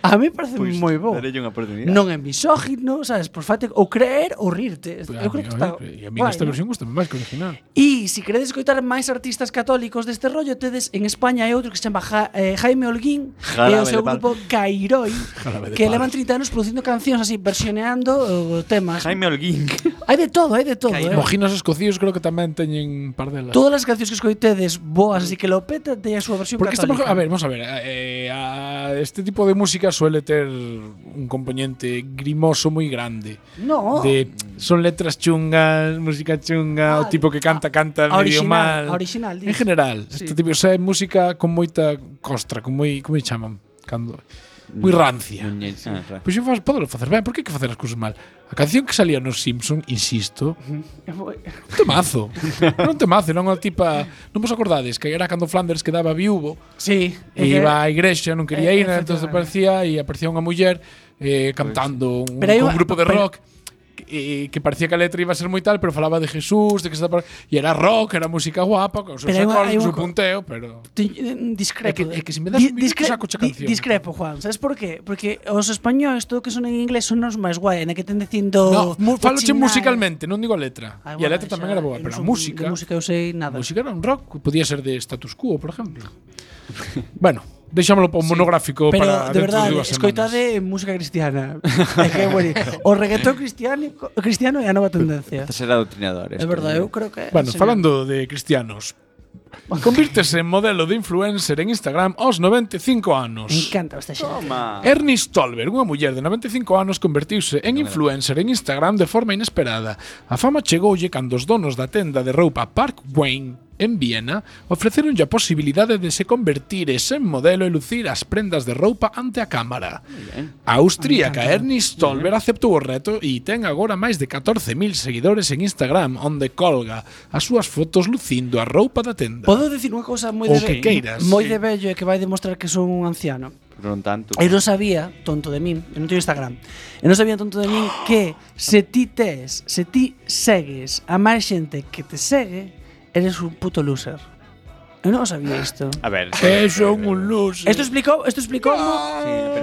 Speaker 7: a mí parece moi bo.
Speaker 6: Pois, Darelle unha oportunidade.
Speaker 7: Non é misógino, sabes, por faite ou creer ou rirte.
Speaker 4: Pues, eh,
Speaker 7: eu creo que está.
Speaker 4: a mí
Speaker 7: guai,
Speaker 4: esta
Speaker 7: non?
Speaker 4: versión gusta máis que o original.
Speaker 7: E se queredes escoitar máis artistas católicos deste rollo, tedes en España hai outro que se chama ja, eh, Jaime Holguín
Speaker 6: Jarabe
Speaker 7: e o seu
Speaker 6: de palo.
Speaker 7: grupo Cairoi,
Speaker 4: Jarabe de
Speaker 7: que
Speaker 4: palo.
Speaker 7: levan 30 anos producindo cancións así, versioneando eh, temas.
Speaker 6: Jaime Holguín.
Speaker 7: Hai de todo, hai de todo. Eh.
Speaker 4: Mojinos escocíos creo que tamén teñen un par delas.
Speaker 7: Todas as cancións que escoitedes boas, así que lo peta, teña a súa versión
Speaker 4: Porque esta,
Speaker 7: católica.
Speaker 4: a ver, vamos a ver, eh, a- este tipo de música suele tener un componente grimoso muy grande.
Speaker 7: no,
Speaker 4: De, son letras chungas, música chunga, o tipo que canta, canta
Speaker 7: a
Speaker 4: medio
Speaker 7: original,
Speaker 4: mal.
Speaker 7: a original,
Speaker 4: en
Speaker 7: dis.
Speaker 4: general, este tipo, o sea, é música con moita costra, con moi, como lle chaman, cando moi rancia.
Speaker 6: Ah,
Speaker 4: Pois eu faz, podelo facer ben, por que hai que facer as cousas mal? A canción que salía nos Simpson, insisto, un temazo. era un temazo, era unha tipa, non vos acordades, que era cando Flanders quedaba viúvo,
Speaker 7: Sí, é
Speaker 4: E
Speaker 7: que-
Speaker 4: iba á igrexa, non quería
Speaker 7: Eh,
Speaker 4: ir, entón
Speaker 7: efectivamente.
Speaker 4: aparecía e aparecía unha muller eh, cantando un,
Speaker 7: Pero hai
Speaker 4: con
Speaker 7: unha-
Speaker 4: un grupo de
Speaker 7: pero-
Speaker 4: rock que, que parecía que a letra iba a ser moi tal, pero falaba de Jesús, de que se e era rock, era música guapa, con os seus
Speaker 7: Pero hai unha-
Speaker 4: acordes,
Speaker 7: hai
Speaker 4: o
Speaker 7: un
Speaker 4: seu
Speaker 7: co-
Speaker 4: punteo, pero
Speaker 7: Ti- eh,
Speaker 4: É
Speaker 7: Discrepo.
Speaker 4: que- é que se me
Speaker 7: eh.
Speaker 4: das un minuto,
Speaker 7: discre-
Speaker 4: saco che
Speaker 7: di-
Speaker 4: canción.
Speaker 7: Discrepo, Juan. Sabes por qué? Porque os españoles, todo o que son en inglés, son os máis guai, na que ten dicindo...
Speaker 4: no, mu- faloche
Speaker 7: "Cochinar".
Speaker 4: musicalmente, non digo a letra. e
Speaker 7: Ai,
Speaker 4: a
Speaker 7: Ah, bueno,
Speaker 4: letra tamén
Speaker 7: xa,
Speaker 4: era boa,
Speaker 7: eu
Speaker 4: pero a
Speaker 7: non son-
Speaker 4: música,
Speaker 7: De música eu sei nada.
Speaker 4: a música era un rock, podía ser de status quo, por exemplo. bueno, deixámolo para un monográfico
Speaker 7: Pero
Speaker 4: para dentro
Speaker 7: de
Speaker 4: de
Speaker 7: verdade,
Speaker 4: dúas semanas.
Speaker 7: escoitade música cristiana. é que é buenísimo. O reggaetón cristiano, cristiano é a nova tendencia.
Speaker 6: Este será doutrinador.
Speaker 7: É verdade, eu creo que
Speaker 4: Bueno,
Speaker 7: sería-
Speaker 4: falando de cristianos, convírtese en modelo de influencer en Instagram aos 95 anos.
Speaker 7: Me encanta esta xente.
Speaker 6: Toma.
Speaker 4: Ah. Ernest Tolbert, unha muller de 95 anos, convertiuse en influencer en Instagram de forma inesperada. A fama chegoulle cando os donos da tenda de roupa Park Wayne en Viena ofreceronlle a posibilidade de se convertires en modelo e lucir as prendas de roupa ante a cámara. A austríaca Ernest Tolbert aceptou o reto e ten agora máis de 14.000 seguidores en Instagram onde colga as súas fotos lucindo a roupa da tenda.
Speaker 7: Podo dicir unha cousa
Speaker 4: O
Speaker 7: moi de
Speaker 4: que queiras.
Speaker 7: moi
Speaker 4: Sí.
Speaker 7: de bello e que vai demostrar que son un anciano.
Speaker 6: Non tanto.
Speaker 7: Eu non sabía, tonto de min, eu non teño Instagram. Eu non sabía, tonto de min, que se ti tes, se ti segues a máis xente que te segue, eres un puto loser. Eu non sabía isto.
Speaker 6: A ver.
Speaker 4: Que son un luz.
Speaker 7: Isto explicou, isto explicou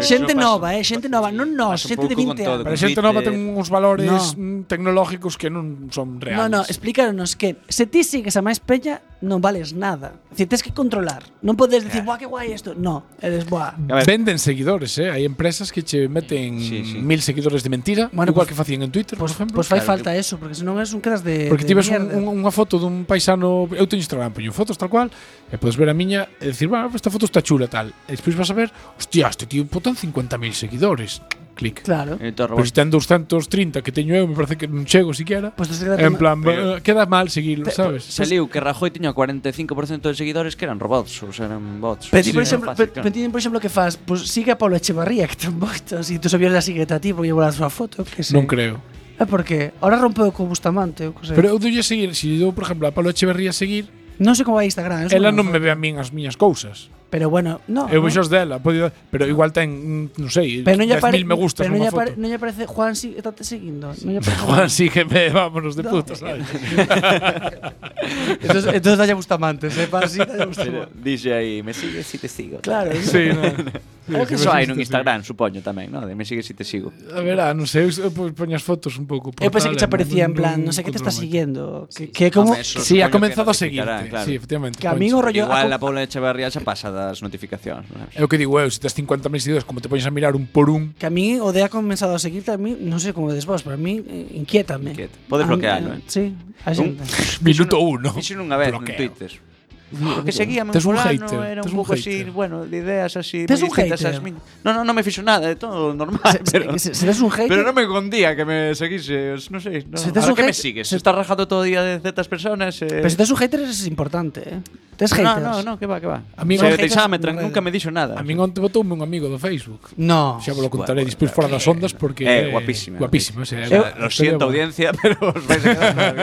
Speaker 7: xente nova, eh, xente nova, non nós,
Speaker 6: pasa un
Speaker 7: xente de
Speaker 6: pouco con
Speaker 7: 20
Speaker 6: todo,
Speaker 7: anos.
Speaker 4: Pero a xente nova ten uns valores
Speaker 7: No.
Speaker 4: mm, tecnológicos que non son reales.
Speaker 7: No, no, explícanos que se ti sigues a máis peña, non vales nada. Es decir, tens que controlar. Non podes decir, buah, que guai isto. No, eres buah.
Speaker 6: A ver.
Speaker 4: Venden seguidores, eh? Hay empresas que che meten
Speaker 6: Sí, sí.
Speaker 4: mil seguidores de mentira,
Speaker 7: Bueno,
Speaker 4: igual que
Speaker 7: pues-
Speaker 4: facían en Twitter,
Speaker 7: Pois
Speaker 4: por ejemplo.
Speaker 7: pues fai falta eso, porque senón es un quedas de
Speaker 4: Porque
Speaker 7: de
Speaker 4: tives un,
Speaker 7: mierda.
Speaker 4: un- unha foto dun paisano Eu teño Instagram, poño fotos tal cual E podes ver a miña e decir Bueno, esta foto está chula tal E despois vas a ver Hostia, este tío putan 50.000 seguidores Clic
Speaker 7: Claro.
Speaker 6: Eh, te
Speaker 4: Pero
Speaker 6: robas.
Speaker 4: se ten 230 que teño eu Me parece que non chego siquiera
Speaker 7: Pois tes que darte
Speaker 4: En
Speaker 7: ma-
Speaker 4: plan, eh, queda mal seguirlo,
Speaker 7: pues,
Speaker 4: sabes?
Speaker 6: Saliu que Rajoy tiña 45% de seguidores que eran robots, ou sea, eran bots.
Speaker 7: Pero
Speaker 4: Sí,
Speaker 7: ti, por
Speaker 4: sí,
Speaker 7: exemplo,
Speaker 6: fácil,
Speaker 7: pe-
Speaker 6: claro.
Speaker 7: pero ti, por exemplo, que fas? Pois sigue a Pablo Echevarría, que ten moitos, e tú sabías la siguete a ti porque llevo a súa foto, que sei.
Speaker 4: Non creo
Speaker 7: É Ah, porque ahora rompeu co Bustamante, eu que sei.
Speaker 4: Pero eu doulle a seguir Se si dou, por exemplo, a Pablo Echeverría a seguir
Speaker 7: non sei como vai Instagram, eso
Speaker 4: Ela
Speaker 7: non
Speaker 4: non me ve a min as miñas cousas
Speaker 7: Pero bueno, no.
Speaker 4: Eu
Speaker 7: no.
Speaker 4: vexo as dela podido, Pero igual ten, mm, non sei
Speaker 7: Pero non lle
Speaker 4: 10.000
Speaker 7: apare-
Speaker 4: me gustas
Speaker 7: pero non
Speaker 4: nunha
Speaker 7: lle apare-
Speaker 4: foto
Speaker 7: non lle aparece Juan si está te seguindo. Non lle aparece.
Speaker 4: Juan, sí que me vámonos de
Speaker 7: No.
Speaker 4: puta, sabes?
Speaker 7: entonces, entonces dalle Bustamante,
Speaker 2: ¿eh?
Speaker 7: se para si dalle
Speaker 6: Pero
Speaker 7: Bustamante.
Speaker 6: dixe aí, me sigues si te sigo.
Speaker 7: Claro.
Speaker 4: Sí, no.
Speaker 6: Algo que
Speaker 4: Sí,
Speaker 6: só
Speaker 4: sí,
Speaker 6: hai
Speaker 4: sí,
Speaker 6: nun
Speaker 4: sí.
Speaker 6: Instagram, supoño tamén, non? De me sigues si te sigo.
Speaker 4: A ver, ah, non sei, eu, eu poño as fotos un pouco por
Speaker 7: Eu pensei que
Speaker 4: tal,
Speaker 7: te aparecía en
Speaker 4: non-
Speaker 7: plan,
Speaker 4: non
Speaker 7: non sei que te está
Speaker 4: controlo moito.
Speaker 7: siguiendo, que que é como
Speaker 6: Home, eso
Speaker 4: Sí,
Speaker 6: supoño
Speaker 4: ha
Speaker 6: que
Speaker 4: comenzado a seguirte.
Speaker 6: notificará, claro.
Speaker 4: Sí, efectivamente.
Speaker 7: Que a min o rollo-
Speaker 6: Igual a
Speaker 7: a-
Speaker 6: Paula Echevarría xa pasa das notificacións. Non?
Speaker 4: É o que digo eu, se tes 50.000 seguidores, como te poñes a mirar un por un,
Speaker 7: que a mí o de ha comenzado a seguirte a mí, non sei como des vos, pero a mí eh, inquiétame.
Speaker 6: Inquieta. Podes
Speaker 7: A-
Speaker 6: bloquealo, eh.
Speaker 7: a- Sí, a xente.
Speaker 4: minuto uno.
Speaker 6: Fixen unha vez
Speaker 4: Bloqueo.
Speaker 6: en Twitter. que seguíame
Speaker 4: Tes un
Speaker 6: fulano,
Speaker 4: hater,
Speaker 6: era
Speaker 4: tes
Speaker 6: un
Speaker 4: un
Speaker 6: pouco así,
Speaker 4: hater.
Speaker 6: bueno, de ideas así.
Speaker 7: Tes
Speaker 6: moi
Speaker 7: un
Speaker 6: distintas
Speaker 7: hater.
Speaker 6: ás min- No, no, non me fixo nada, é todo normal.
Speaker 7: Se-
Speaker 6: pero...
Speaker 7: se- se- Se ves un hate,
Speaker 6: Pero non me condía que me seguise, os- non sei. No.
Speaker 7: Se tes
Speaker 6: Ahora
Speaker 7: un
Speaker 6: que me
Speaker 7: hate-
Speaker 6: sigues,
Speaker 7: se-
Speaker 6: se estás rajando todo o día de certas personas. Eh...
Speaker 7: pero se tes un hater es importante, eh. Tes
Speaker 6: no,
Speaker 7: haters.
Speaker 6: no, no, que va, que va.
Speaker 4: A min
Speaker 6: se
Speaker 4: os haters
Speaker 6: deixaba, me
Speaker 7: non
Speaker 6: tran-
Speaker 7: reden.
Speaker 6: nunca me dixo nada.
Speaker 4: A min onte botoume un amigo do Facebook.
Speaker 7: No.
Speaker 4: Xa vos lo contaré despois fora das ondas porque
Speaker 6: Eh, guapísima. O
Speaker 4: Guapísima, sí,
Speaker 6: sea,
Speaker 4: é-
Speaker 6: lo
Speaker 4: historia
Speaker 6: siento,
Speaker 4: boa.
Speaker 6: audiencia, pero os vais a quedar.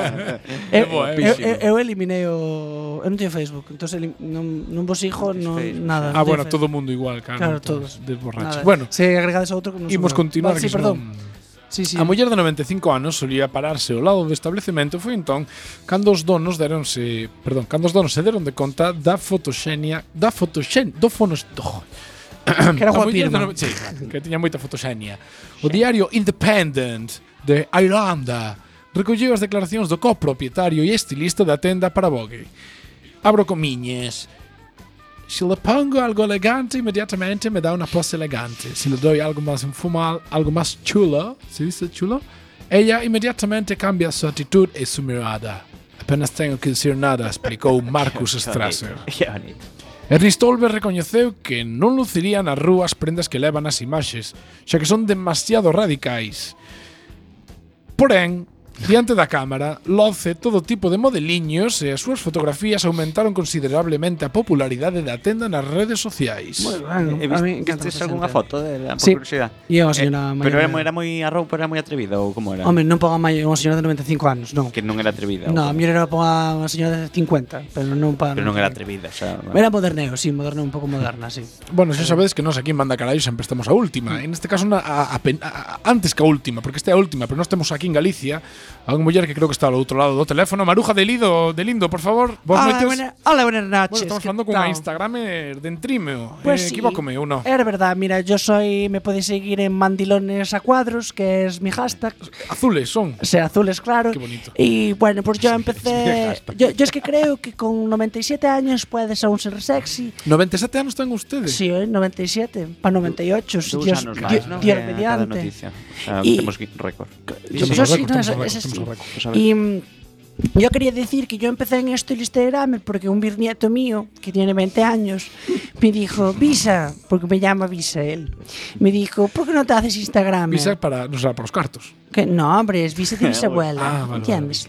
Speaker 7: Eu,
Speaker 4: É boa, é boa.
Speaker 7: eu, eu, eh, eu eliminei o eu non teño Facebook, entón elim- non non vos hijo, non
Speaker 6: Facebook,
Speaker 7: nada.
Speaker 4: Ah,
Speaker 7: non teño
Speaker 4: bueno,
Speaker 7: Facebook.
Speaker 4: todo o mundo igual, claro.
Speaker 7: Claro,
Speaker 4: todos
Speaker 7: todos.
Speaker 4: De borrachos.
Speaker 7: Nada.
Speaker 4: Bueno,
Speaker 7: se agregades outro que non
Speaker 4: imos
Speaker 7: son eu.
Speaker 4: continuar
Speaker 7: Vale,
Speaker 4: que
Speaker 7: sí, perdón.
Speaker 4: senón-
Speaker 7: Sí, sí.
Speaker 4: A muller de 95 anos solía pararse ao lado do establecemento foi entón cando os donos deronse, perdón, cando os donos se deron de conta da fotoxenia, da fotoxen, do fonos, do,
Speaker 7: que
Speaker 4: A
Speaker 7: era Juan
Speaker 4: muller de no-
Speaker 7: Pirma.
Speaker 4: sí, que tiña moita fotoxenia. O diario Independent de Irlanda recolleu as declaracións do copropietario e estilista da tenda para Vogue. Abro comiñas. Se le pongo algo elegante, inmediatamente me dá unha pose elegante. Se le doy algo más informal, algo más chulo, se dice chulo, ella inmediatamente cambia su actitud e su mirada. Apenas tengo que decir nada, explicou Marcus Strasser.
Speaker 6: Que bonito.
Speaker 4: Ernest Olver recoñeceu que non lucirían as rúas prendas que levan as imaxes, xa que son demasiado radicais. Porén, diante da cámara, loce todo tipo de modeliños e as súas fotografías aumentaron considerablemente a popularidade da tenda nas redes sociais.
Speaker 7: Moi ben,
Speaker 6: Eh,
Speaker 7: a mí
Speaker 6: viste-
Speaker 7: encanta
Speaker 6: Vistes
Speaker 7: esa
Speaker 6: algunha
Speaker 7: xente.
Speaker 6: foto de la, por
Speaker 7: Sí.
Speaker 6: curiosidade?
Speaker 7: E a señora
Speaker 6: pero era,
Speaker 7: maior de-
Speaker 6: moi- era moi arroupa, era moi atrevida ou como era?
Speaker 7: Home, non paga mai unha señora de 95 anos, non.
Speaker 6: Que non era atrevida.
Speaker 7: No,
Speaker 6: ou
Speaker 7: a
Speaker 6: como-
Speaker 7: mí era para unha señora de 50, pero non para
Speaker 6: Pero non era atrevida, xa.
Speaker 7: Era moderneo, sí, moderneo un pouco moderna, sí.
Speaker 4: Bueno, xa sabedes que nós aquí en Banda Carallo sempre estamos a última. En este caso, na, a, a, pen- a, a- antes que a última, porque esta é a última, pero nós temos aquí en Galicia a unha muller que creo que está ao outro lado do teléfono. Maruja de Lido, de Lindo, por favor, vos
Speaker 7: Hola,
Speaker 4: noites.
Speaker 7: buena- hola, buenas
Speaker 4: Bueno,
Speaker 7: noches.
Speaker 4: estamos
Speaker 7: ¿qué
Speaker 4: hablando con una
Speaker 7: tal?
Speaker 4: Instagramer de Entrimeo.
Speaker 7: Pues sí. Eh,
Speaker 4: Equivócome o no.
Speaker 7: Es verdad, mira, yo soy. Me podéis seguir en Mandilones a Cuadros, que es mi hashtag.
Speaker 4: Azules son.
Speaker 7: O sea, azules, claro.
Speaker 4: Qué bonito.
Speaker 7: Y bueno, pues yo empecé. yo, yo es que creo que con 97 años puedes aún ser sexy.
Speaker 4: 97 años tengo ustedes.
Speaker 7: Sí, ¿eh? 97, para 98, si
Speaker 6: Dous
Speaker 7: Dios,
Speaker 6: anos
Speaker 7: di-
Speaker 6: máis, non? Que Eh, a
Speaker 7: Dios
Speaker 6: cada
Speaker 7: mediante.
Speaker 6: noticia. O sea,
Speaker 7: Y-
Speaker 6: temos gui- récord.
Speaker 7: Yo
Speaker 4: Somos
Speaker 7: sí,
Speaker 4: récord, somos
Speaker 7: no, ese-
Speaker 4: récord,
Speaker 7: ese
Speaker 4: somos
Speaker 7: sí.
Speaker 4: récord.
Speaker 7: Y mm, yo quería decir que yo empecé en esto Instagram porque un bisnieto mío, que tiene 20 años, me dijo, Visa, porque me llama Visa él, me dijo, ¿por qué no te haces Instagram?
Speaker 4: Visa para, no sé, para los cartos.
Speaker 7: Que no, hombre, es Visa de bisabuela,
Speaker 4: Ah, vale,
Speaker 7: ¿entiendes?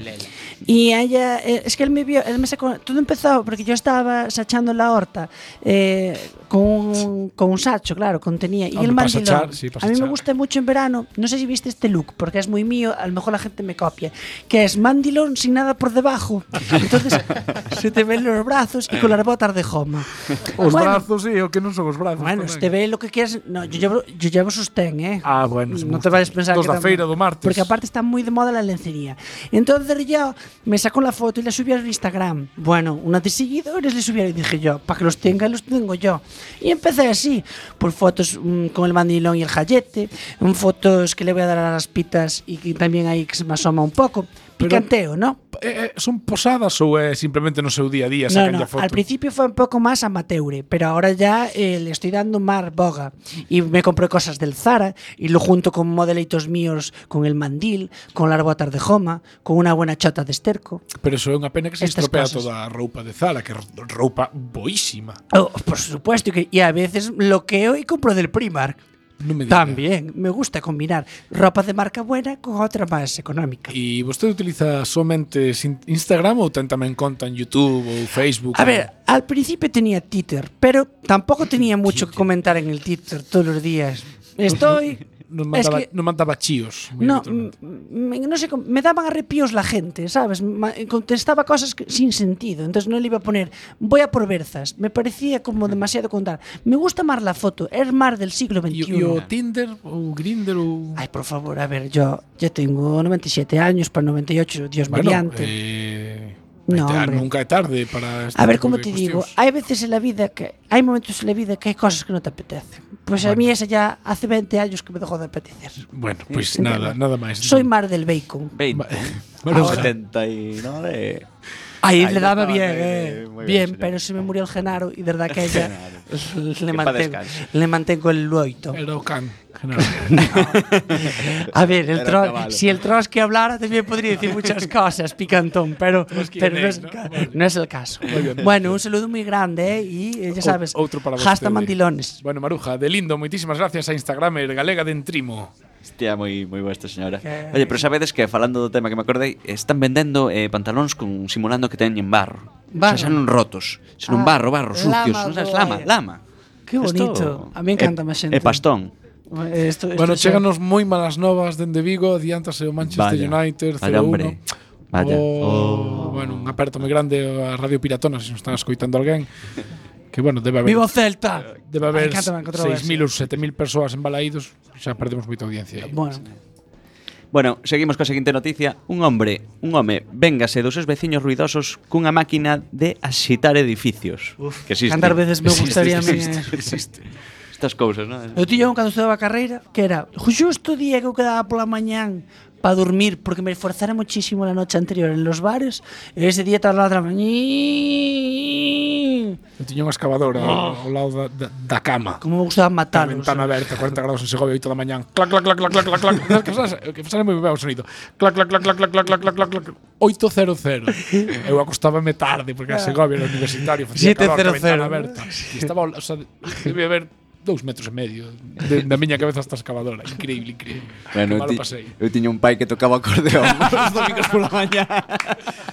Speaker 7: Y ella, eh, es que él me vio, él me sacó, todo empezó porque yo estaba sachando la horta eh, con, un- con un sacho, claro, contenía. Y
Speaker 4: Hombre,
Speaker 7: el
Speaker 4: para
Speaker 7: mandilón.
Speaker 4: sachar, sí, para
Speaker 7: a mí me
Speaker 4: sachar.
Speaker 7: gusta mucho en verano, no sé si viste este look, porque es muy mío, a lo mejor la gente me copia, que es mandilón sin nada por debajo. Entonces se te ven los brazos y con las botas de joma.
Speaker 4: Os
Speaker 7: Bueno,
Speaker 4: brazos, sí, o que no son los brazos.
Speaker 7: Bueno,
Speaker 4: tamén.
Speaker 7: te ve lo que quieras. No, yo llevo, yo llevo sostén, ¿eh?
Speaker 4: Ah, bueno, se
Speaker 7: No
Speaker 4: gusta.
Speaker 7: te vayas a pensar
Speaker 4: Dos
Speaker 7: que
Speaker 4: da
Speaker 7: tamén-
Speaker 4: feira do martes.
Speaker 7: Porque aparte está muy de moda la lencería. Entonces yo me sacó la foto y la subí a Instagram. Bueno, una de seguidores le subí y dije yo, para que los tenga, los tengo yo. Y empecé así, por fotos mm, con el bandilón y el jayete, mm, fotos que le voy a dar a las pitas y que también ahí que se me asoma un poco.
Speaker 4: Pero-
Speaker 7: Picanteo, ¿no?
Speaker 4: Eh, eh, son posadas ou é simplemente no seu día a día
Speaker 7: No,
Speaker 4: sacan
Speaker 7: no,
Speaker 4: no, foto?
Speaker 7: al principio fue un poco más amateur, pero ahora ya eh, le estoy dando mar boga. Y me compré cosas del Zara y lo junto con modelitos míos, con el mandil, con las botas de Joma, con una buena chota de esterco.
Speaker 4: Pero eso é unha pena que se
Speaker 7: Estas
Speaker 4: estropea
Speaker 7: cosas.
Speaker 4: toda a roupa de Zara, que é roupa boísima.
Speaker 7: Oh, por supuesto, y que, y a veces bloqueo y compro del Primark.
Speaker 4: Non me digas.
Speaker 7: También me gusta combinar ropa de marca buena con otra más económica.
Speaker 4: E vostede utiliza somente sin- Instagram ou ten tamén conta en YouTube ou Facebook?
Speaker 7: A ver, al principio tenía Twitter, pero tampoco tenía mucho que comentar en el Twitter todos los días. Estoy.
Speaker 4: Non
Speaker 7: es
Speaker 4: mandaba,
Speaker 7: que-
Speaker 4: non mandaba chíos. moi
Speaker 7: No,
Speaker 4: habitualmente.
Speaker 7: m- m- no sé, cómo- me daban arrepios la gente, ¿sabes? Ma- eh, Contestaba cosas que- sin sentido, entonces no le iba a poner, voy a por berzas, me parecía como demasiado contar. Me gusta más la foto, es más del siglo
Speaker 4: E
Speaker 7: XXI.
Speaker 4: o- e o Tinder ou Grindr ou...
Speaker 7: Ay, por favor, a ver, yo ya tengo 97 años para 98, Dios mediante.
Speaker 4: eh,
Speaker 7: No,
Speaker 4: hai que-
Speaker 7: hombre.
Speaker 4: nunca é tarde para este
Speaker 7: A ver,
Speaker 4: tipo
Speaker 7: como
Speaker 4: de
Speaker 7: te digo,
Speaker 4: cuestións.
Speaker 7: hay veces en la vida que hay momentos en la vida que hay cosas que no te apetecen. Pues a mí esa ya hace 20 años que me dejó de apetecer.
Speaker 4: Bueno, pois pues, nada, nada máis.
Speaker 7: eh, Soy más del bacon.
Speaker 6: 20.
Speaker 4: Bueno, ojalá.
Speaker 6: 79.
Speaker 7: Ahí
Speaker 6: Ahí
Speaker 7: le daba
Speaker 6: estaba,
Speaker 7: bien,
Speaker 6: eh,
Speaker 7: eh.
Speaker 6: muy
Speaker 7: Bien,
Speaker 6: bien, señor.
Speaker 7: pero se me murió el Genaro y de verdad que ella le,
Speaker 6: paz
Speaker 7: mantengo,
Speaker 6: descanse.
Speaker 7: le mantengo el loito.
Speaker 4: Era o can. general.
Speaker 7: A ver, el
Speaker 6: Era
Speaker 7: tro-
Speaker 6: caballo.
Speaker 7: si el Trotsky hablara también podría decir muchas cosas, picantón, pero,
Speaker 6: Pues
Speaker 7: pero no,
Speaker 4: es,
Speaker 7: es, el
Speaker 4: ¿no?
Speaker 7: ca-
Speaker 4: Vale.
Speaker 7: no es el caso. Bueno, un saludo muy grande eh, y eh, ya sabes,
Speaker 4: O- outro para
Speaker 7: hasta
Speaker 4: vostede.
Speaker 7: mandilones.
Speaker 4: Bueno, Maruja, de lindo, moitísimas gracias a Instagramer galega de Entrimo.
Speaker 6: Hostia, moi, moi boa esta señora.
Speaker 7: Que-
Speaker 6: Oye, pero sabedes que falando do tema que me acordei, están vendendo eh, pantalóns con simulando que teñen barro.
Speaker 7: Barro.
Speaker 6: O sea, xa non rotos, senón
Speaker 7: Ah,
Speaker 6: barro, barro, sucios,
Speaker 7: lama,
Speaker 6: non sabes, lama,
Speaker 7: boy.
Speaker 6: lama.
Speaker 7: Qué bonito. A mí encanta máis xente.
Speaker 6: E pastón.
Speaker 7: Eh, Esto, esto
Speaker 4: Bueno,
Speaker 7: es-
Speaker 4: cheganos moi malas novas dende Vigo, adiántase o Manchester
Speaker 6: Vaya.
Speaker 4: United Oh.
Speaker 6: Vaya, hombre.
Speaker 4: 0-1.
Speaker 6: Vaya. Oh.
Speaker 4: O, bueno, un aperto moi grande a Radio Piratona, se nos están escoitando alguén. Que bueno, debe haber
Speaker 7: ¡Viva o Celta!
Speaker 6: Eh,
Speaker 4: debe haber
Speaker 7: Ay, cántame, cántame,
Speaker 4: 6.000 ou 7.000 persoas embalaídos, xa perdemos moita audiencia. aí.
Speaker 7: Bueno,
Speaker 6: Bueno, seguimos coa seguinte noticia. Un hombre, un home, véngase dos seus veciños ruidosos cunha máquina de axitar edificios. Uf, que existe.
Speaker 7: cantar veces me gustaría a mí. eh.
Speaker 4: Existe.
Speaker 6: Estas cousas, non?
Speaker 7: Eu tiña un cando estudaba a carreira que era justo o día que eu quedaba pola mañán para dormir porque me esforzara muchísimo la noche anterior en los bares e ese día tras la otra mañán
Speaker 4: Eu tiña unha excavadora ao- ao lado da, da, da cama.
Speaker 7: como me
Speaker 4: A
Speaker 7: gustaba matarlos eh.
Speaker 4: ventana aberta, 40 grados en Segovia, 8 da mañán. Clac, clac, clac, clac, clac, clac, clac. clac, Que sale, que sale moi ben o sonido. Clac, clac, clac, clac, clac, clac, clac, clac, clac, clac. 8.00. Eu acostábame tarde, porque a Segovia era universitario, facía calor, a
Speaker 7: 7:00.
Speaker 4: ventana aberta. E estaba, ao- o sea, debía haber dous metros e medio de, da miña cabeza hasta a excavadora. Increíble, increíble. Bueno, que
Speaker 6: Bueno, eu,
Speaker 4: malo
Speaker 6: ti,
Speaker 4: pasei.
Speaker 6: eu tiña un pai que tocaba acordeón os domingos pola mañá.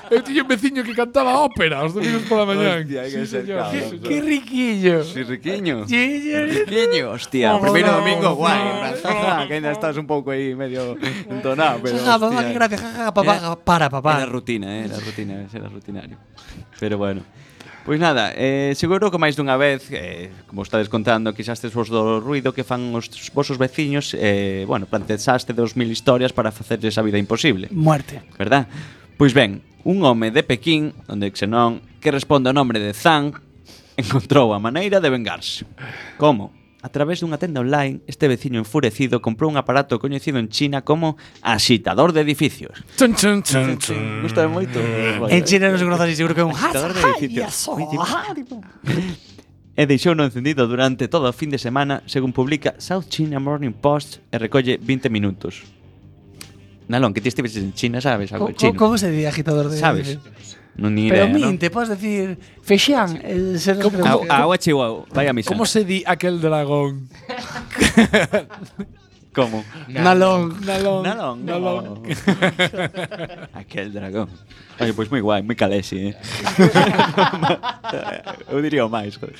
Speaker 4: Eu tiña un veciño que cantaba ópera os domingos pola mañán.
Speaker 6: Hostia, hai que
Speaker 4: Sí,
Speaker 6: ser
Speaker 4: señor.
Speaker 6: cabrón.
Speaker 4: Sí,
Speaker 7: ¡Qué riquillo!
Speaker 6: Si riquiño.
Speaker 7: Sí, sí.
Speaker 6: Riquiño, hostia, o
Speaker 7: Vamos,
Speaker 6: primeiro
Speaker 7: vamos,
Speaker 6: domingo guai,
Speaker 7: vamos.
Speaker 6: brazaza, que ainda estás un pouco aí medio entonado, pero
Speaker 7: Ja, ja, papá,
Speaker 6: hostia,
Speaker 7: que gracia, ja, ja, papá,
Speaker 6: Era-
Speaker 7: para, papá.
Speaker 6: Era rutina, eh, era rutina, era rutinario. Pero bueno. Pois nada, eh, seguro que máis dunha vez, eh, como estades contando, quixastes vos do ruido que fan os vosos veciños, eh, bueno, plantexaste dos mil historias para facerles a vida imposible.
Speaker 7: Muerte.
Speaker 6: verdad? Pois ben, un home de Pequín, onde Xenón, que responde ao nome de Zhang, encontrou a maneira de vengarse. Como? A través dunha tenda online, este veciño enfurecido comprou un aparato coñecido en China como axitador de edificios. Mm.
Speaker 4: Chun, chun, chun, chun.
Speaker 6: Gusta moito.
Speaker 7: En China non se conoce así, seguro que é un
Speaker 6: eh, Agitador de edificios.
Speaker 7: Eso,
Speaker 6: Muy
Speaker 7: ah, tipo.
Speaker 6: E deixou no encendido durante todo o fin de semana, según publica South China Morning Post e recolle 20 minutos. Nalón, que ti estives en China, sabes algo
Speaker 7: Co-
Speaker 6: de chino.
Speaker 7: co- Como se di agitador de
Speaker 6: Sabes? Non ni idea,
Speaker 7: Pero
Speaker 6: non?
Speaker 7: min, te podes decir Feixán, el ser
Speaker 6: Au, au, achiu, au. Vai a misa.
Speaker 4: Como se di aquel dragón?
Speaker 6: Como?
Speaker 7: Nalón.
Speaker 4: Nalón. Pues
Speaker 6: Nalón. Aquel dragón. Oye, pois moi guai, moi calesi, eh? Eu diría o máis, joder.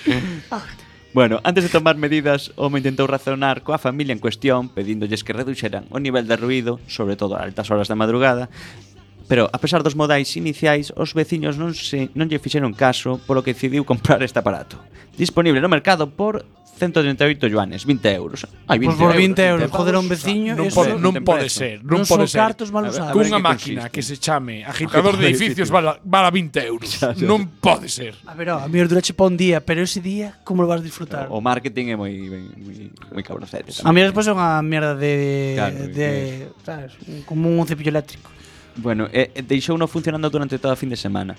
Speaker 6: Bueno, antes de tomar medidas, o home intentou razonar coa familia en cuestión, pedíndolles que reduxeran o nivel de ruido, sobre todo a altas horas da madrugada, Pero a pesar dos modais iniciais, os veciños non se non lle fixeron caso, polo que decidiu comprar este aparato. Disponible no mercado por 138 yuanes, 20 euros. Ai, 20
Speaker 7: Pois por 20
Speaker 6: euros.
Speaker 7: euros, joder a un veciño,
Speaker 4: Non,
Speaker 7: eso
Speaker 4: pode, non
Speaker 6: ten
Speaker 4: pode
Speaker 6: prezo.
Speaker 4: ser, non
Speaker 7: non
Speaker 4: pode ser.
Speaker 7: son cartos mal
Speaker 6: ver, a ver
Speaker 7: usados.
Speaker 4: Cunha
Speaker 6: que
Speaker 4: máquina
Speaker 6: consiste.
Speaker 4: que se chame
Speaker 6: Agitador
Speaker 4: agitador de
Speaker 6: de
Speaker 4: edificios
Speaker 6: edificios.
Speaker 4: vala, vala 20 euros.
Speaker 6: xa.
Speaker 4: non pode ser.
Speaker 7: A ver, ó, a mí os durache pa un día, pero ese día, como lo vas a disfrutar?
Speaker 6: O marketing é moi moi, moi cabroncete.
Speaker 7: a mí despois é unha merda de...
Speaker 6: Claro,
Speaker 7: de sabes, como un cepillo eléctrico.
Speaker 6: Bueno, eh, eh, deixou non funcionando durante toda a fin de semana.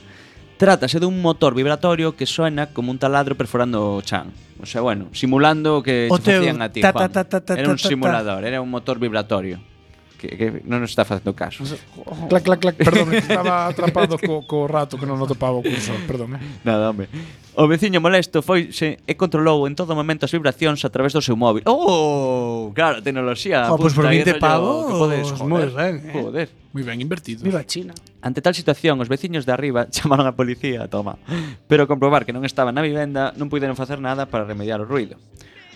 Speaker 6: Trátase dun motor vibratorio que soena como un taladro perforando o chan. O sea, bueno, simulando o que
Speaker 2: O
Speaker 6: te
Speaker 2: teu
Speaker 6: facían a ti,
Speaker 2: ta,
Speaker 6: Juan.
Speaker 2: ta, ta, ta,
Speaker 6: Era
Speaker 2: ta,
Speaker 6: un
Speaker 2: ta, ta.
Speaker 6: simulador, era un motor vibratorio. Que, que non nos está facendo caso.
Speaker 4: Clac, clac, clac. Perdón, que estaba atrapado co, co rato que non o topaba o cursor. Perdón. eh.
Speaker 6: Nada, home. O veciño molesto foi se, e controlou en todo momento as vibracións a través do seu móvil. Oh, claro, tecnoloxía.
Speaker 2: Jo, pois pues por
Speaker 6: punta, aí
Speaker 2: 20
Speaker 6: rollo que podes,
Speaker 2: pavos,
Speaker 6: joder,
Speaker 2: moi ben, eh.
Speaker 6: Joder.
Speaker 4: Muy ben invertido.
Speaker 2: Viva China.
Speaker 6: Ante tal situación, os veciños de arriba chamaron á policía, toma, pero ao comprobar que non estaban na vivenda, non puideron facer nada para remediar o ruido.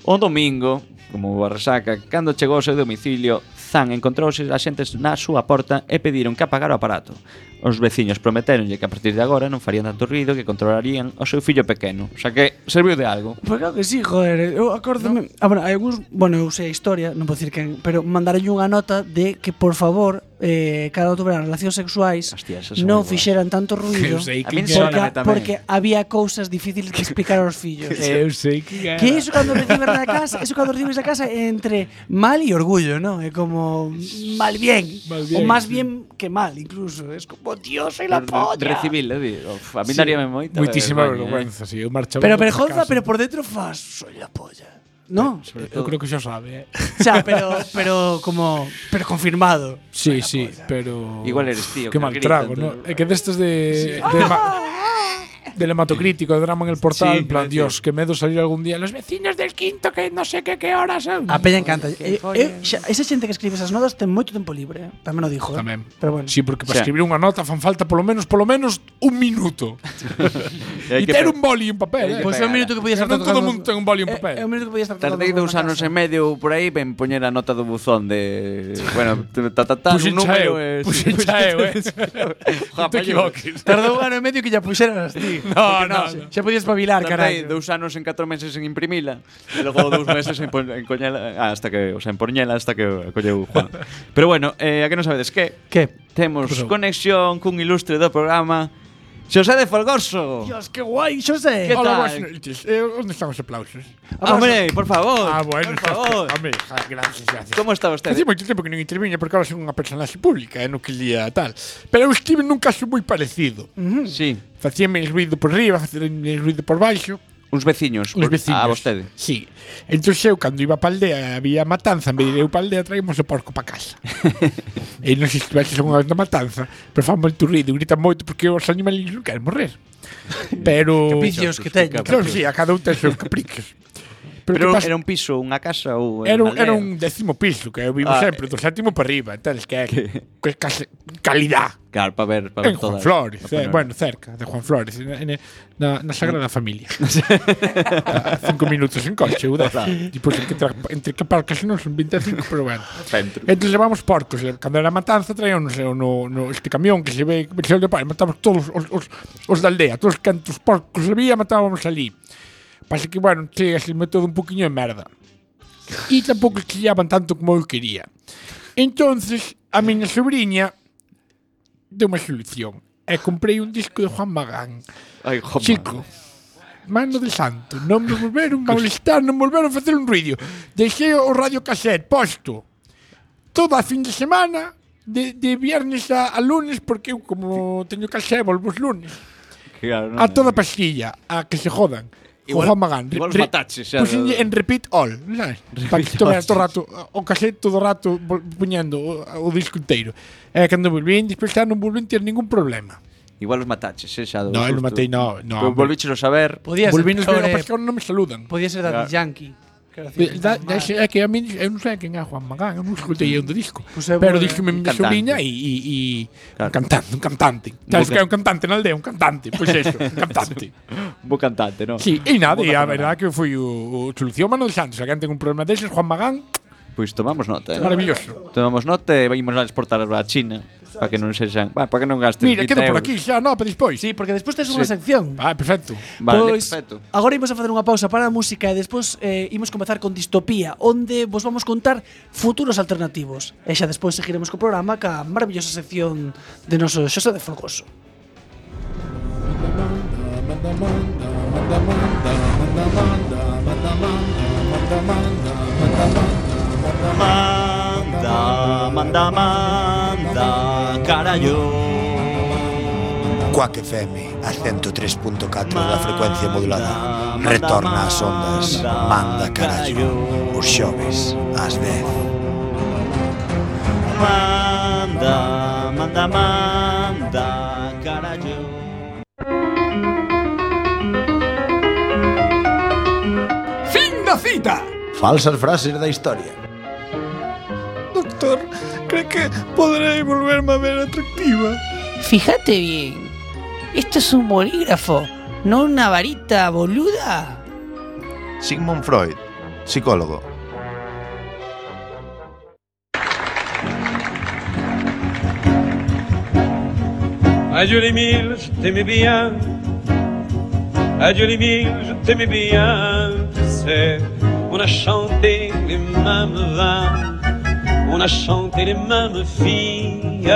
Speaker 6: O domingo, como a resaca, cando chegou ao seu domicilio, Zan encontrouse axentes na súa porta e pediron que apagara o aparato. Os veciños prometeronlle que a partir de agora non farían tanto ruido que controlarían o seu fillo pequeno. O sea que serviu de algo.
Speaker 5: Pues
Speaker 2: Pois claro que sí,
Speaker 5: eh,
Speaker 2: joder. Eu acórdame... Ah, bueno, hai algúns... Bueno, eu sei a historia, non podo dicir quen, pero mandaronlle unha nota de que, por favor, eh, cada outro verán relacións sexuais
Speaker 6: Hostia, esas son
Speaker 2: non
Speaker 6: moi boas.
Speaker 2: fixeran tanto
Speaker 4: Que
Speaker 2: ruido
Speaker 4: eu sei
Speaker 6: A
Speaker 4: que
Speaker 6: min
Speaker 4: era.
Speaker 6: sóname
Speaker 2: porque,
Speaker 6: tamén.
Speaker 2: porque había cousas difíciles que explicar aos fillos.
Speaker 4: Eu sei que era.
Speaker 2: Que iso cando recibes da casa, iso cando recibes da casa é entre mal e orgullo, non? É como mal bien,
Speaker 4: Mal
Speaker 2: o
Speaker 4: bien,
Speaker 2: máis
Speaker 4: sí.
Speaker 2: bien que mal, incluso, é como Dios, soy la polla.
Speaker 6: Recibilo, di. Uf, a mí daríame moita
Speaker 4: Muitísima
Speaker 6: vergoña, eh.
Speaker 4: vergüenza, sí. Eu marchaba
Speaker 2: Pero
Speaker 4: por
Speaker 2: pero
Speaker 4: casa.
Speaker 2: jonza, pero por dentro fas, soy la polla. No,
Speaker 4: Eu creo que xa sabe, eh.
Speaker 2: o sea, pero pero como pero confirmado.
Speaker 4: Sí, sí, pero.
Speaker 6: Igual eres tío,
Speaker 4: Qué
Speaker 6: que
Speaker 4: mal
Speaker 6: grita,
Speaker 4: trago,
Speaker 6: entonces-
Speaker 4: ¿no? Es que de estos de. de ma- del hematocrítico, de drama en el portal.
Speaker 6: Sí,
Speaker 4: en plan,
Speaker 6: sí.
Speaker 4: Dios, que miedo salir algún día. Los vecinos del quinto, que no sé qué, qué horas son.
Speaker 2: A
Speaker 6: Ah,
Speaker 2: peña encanta. Eu, eu, xa, esa xente que escribe esas notas ten moito tempo libre, eh? tamén o dijo. Eh?
Speaker 4: Tamén.
Speaker 2: Pero bueno.
Speaker 4: Sí, porque
Speaker 6: O
Speaker 4: para
Speaker 6: sea-
Speaker 4: escribir una nota fan falta por lo menos, por lo menos un minuto.
Speaker 6: Hai eh,
Speaker 4: y
Speaker 6: que
Speaker 4: tener
Speaker 6: pe-
Speaker 4: un boli y un papel.
Speaker 6: Hai que
Speaker 4: eh.
Speaker 2: Pues
Speaker 6: Pois é un minuto
Speaker 4: que podías Non todo o mundo ten un boli e un papel.
Speaker 2: É, é Eh, un minuto que podías estar
Speaker 6: Tardei
Speaker 2: tocando
Speaker 6: dous
Speaker 2: na
Speaker 6: anos
Speaker 2: casa.
Speaker 6: e medio por aí en poñer a nota do buzón de... Bueno, ta ta ta,
Speaker 4: Puxen
Speaker 6: un número... e-
Speaker 4: Puxen chaeu, eh.
Speaker 6: Ja,
Speaker 4: Non
Speaker 6: paño.
Speaker 4: te equivoques.
Speaker 2: Tardou un ano e medio que ya puxeras ti.
Speaker 4: No, no,
Speaker 2: Xa-
Speaker 4: no.
Speaker 2: Xa podías espabilar,
Speaker 6: Tardei
Speaker 2: carai.
Speaker 6: dous anos en 4 meses en imprimila E logo dous meses en, pon- en coñela ah, Hasta que, o sea, en poñela hasta que o colleu Juan Pero bueno, eh, a que non sabedes que
Speaker 2: Que?
Speaker 6: Temos conexión cun ilustre do programa Xosé de Folgoso
Speaker 2: Dios, que guai, yo sé.
Speaker 6: Que tal?
Speaker 4: Hola, buenas noches. Eh, ¿Dónde están los aplausos?
Speaker 6: Hombre, por favor
Speaker 4: Ah, bueno.
Speaker 6: Por favor
Speaker 4: Hombre, ja, gracias, gracias.
Speaker 6: Como está vostede?
Speaker 4: Hace moito tempo que non interviña porque ahora son unha personaxe pública e non quería tal. Pero eu estive nun caso moi parecido.
Speaker 6: Sí,
Speaker 4: Facíame ruido por riba, facíame ruido por baixo.
Speaker 6: uns veciños
Speaker 4: Os
Speaker 6: por-
Speaker 4: veciños.
Speaker 6: A vostede
Speaker 4: Sí. Entón eu, cando iba pa aldea, había matanza, me direi, eu pa aldea traímos o porco pa casa. e non sei se estivese unha vez na matanza, pero fan moito ruido, gritan moito porque os animais non queren morrer. Pero...
Speaker 2: Capricios que teñen.
Speaker 4: Claro, sí, a cada un ten seus caprichos. Pero,
Speaker 6: Pero
Speaker 4: que pasa-
Speaker 6: era un piso, unha casa ou
Speaker 4: Era, un-
Speaker 6: unha
Speaker 4: era
Speaker 6: aldea?
Speaker 4: un décimo piso, que eu vivo
Speaker 6: Ah,
Speaker 4: sempre, do sétimo para arriba, entonces que é que case, calidad.
Speaker 6: Claro, para ver, para
Speaker 4: En
Speaker 6: ver
Speaker 4: Juan
Speaker 6: todas.
Speaker 4: Flores,
Speaker 6: para
Speaker 4: eh,
Speaker 6: ver.
Speaker 4: bueno, cerca de Juan Flores, en, en, na, na Sagrada Familia. A cinco minutos en coche, eu dez. Tipo, entre que, tra- entre que parcas non son 25, pero bueno.
Speaker 6: Centro.
Speaker 4: Entón levamos porcos, e cando era matanza traían no, no, no este camión que se ve, que se ve, matamos todos os, os, os da aldea, todos cantos porcos había, matábamos ali. Pasa que, bueno, che, se me todo un poquinho de merda. E tampouco chillaban tanto como eu quería. Entonces, a miña sobrinha deu unha solución. E comprei un disco de Juan Magán.
Speaker 6: Ai, joma.
Speaker 4: Chico, mano de santo, non me volveron molestar, non volveron facer un ruido. Deixei o radio cassette posto toda a fin de semana, de, de viernes a, a lunes, porque eu como teño cassette volvo os lunes.
Speaker 6: Claro, non,
Speaker 4: A toda pastilla, a que se jodan.
Speaker 6: Igual-
Speaker 4: Igual, Juan Magán.
Speaker 6: igual mataches, xa,
Speaker 4: Puxenlle
Speaker 6: de-
Speaker 4: en repeat all, sabes? Para que tome todo o rato, o cassette todo o rato vol- puñendo o, o disco inteiro. E cando volvín despertar non volvín ter ningún problema.
Speaker 6: Igual os mataches, eh, xa do
Speaker 4: No, eu
Speaker 6: susto.
Speaker 4: non matei, no, no,
Speaker 2: Pues
Speaker 6: Pero
Speaker 4: hombre.
Speaker 6: volvíchelo a saber.
Speaker 2: Podías
Speaker 4: Volvín os ver,
Speaker 2: Ore,
Speaker 4: que non me saludan.
Speaker 2: podía ser Daddy
Speaker 6: Claro.
Speaker 2: Yankee. Quero
Speaker 4: De-
Speaker 2: dicir,
Speaker 4: da-
Speaker 2: pues, normal.
Speaker 4: da- É que a mí, eu non sei quen é Juan Magán, eu non escutei eu do disco.
Speaker 2: Pois é,
Speaker 4: Pero
Speaker 2: Pues, eh, bueno,
Speaker 4: dixo mi
Speaker 6: un
Speaker 4: miña
Speaker 6: cantante.
Speaker 4: sobrinha e, e, e
Speaker 6: Claro.
Speaker 4: un cantante, un cantante. Sabes
Speaker 6: bo
Speaker 4: que é un cantante na aldea, un cantante, pois eso, un cantante.
Speaker 6: Un bo cantante, non?
Speaker 4: Sí, e nada, e
Speaker 6: Boa
Speaker 4: a verdade que foi o, o solución Manuel Santos, se alguén ten un problema deses, Juan Magán,
Speaker 6: Pois tomamos nota, eh.
Speaker 4: maravilloso.
Speaker 6: Tomamos nota e vamos a exportar a China para que non sexan, bueno, para que non gasten 20
Speaker 4: Mira, quedo por
Speaker 6: euros.
Speaker 4: aquí xa, no, para despois.
Speaker 2: Sí, porque despois tes unha sección.
Speaker 4: Ah, perfecto.
Speaker 6: Vale,
Speaker 2: pois,
Speaker 6: perfecto.
Speaker 2: agora imos a facer unha pausa para a música e despois eh, imos comezar con Distopía, onde vos vamos contar futuros alternativos. E xa despois seguiremos co programa ca maravillosa sección de noso Xosé de Folgoso.
Speaker 6: Manda, manda, manda, cara
Speaker 9: Quack FM, a 103.4 da frecuencia modulada. Retorna ás ondas, manda carallo. Os xoves, ás 10.
Speaker 6: Manda, manda, manda, carallo.
Speaker 1: Fin da cita.
Speaker 9: Falsas frases da historia.
Speaker 4: Doctor, cree que podré volverme a ver atractiva?
Speaker 5: Fíjate bien, esto es un bolígrafo, no una varita boluda.
Speaker 10: Sigmund Freud, psicólogo.
Speaker 11: Adieu les mille, je t'aimais bien. Adieu les mille, je t'aimais bien. Tu sais, on a chanté les mêmes vins. On a chanté les mêmes filles.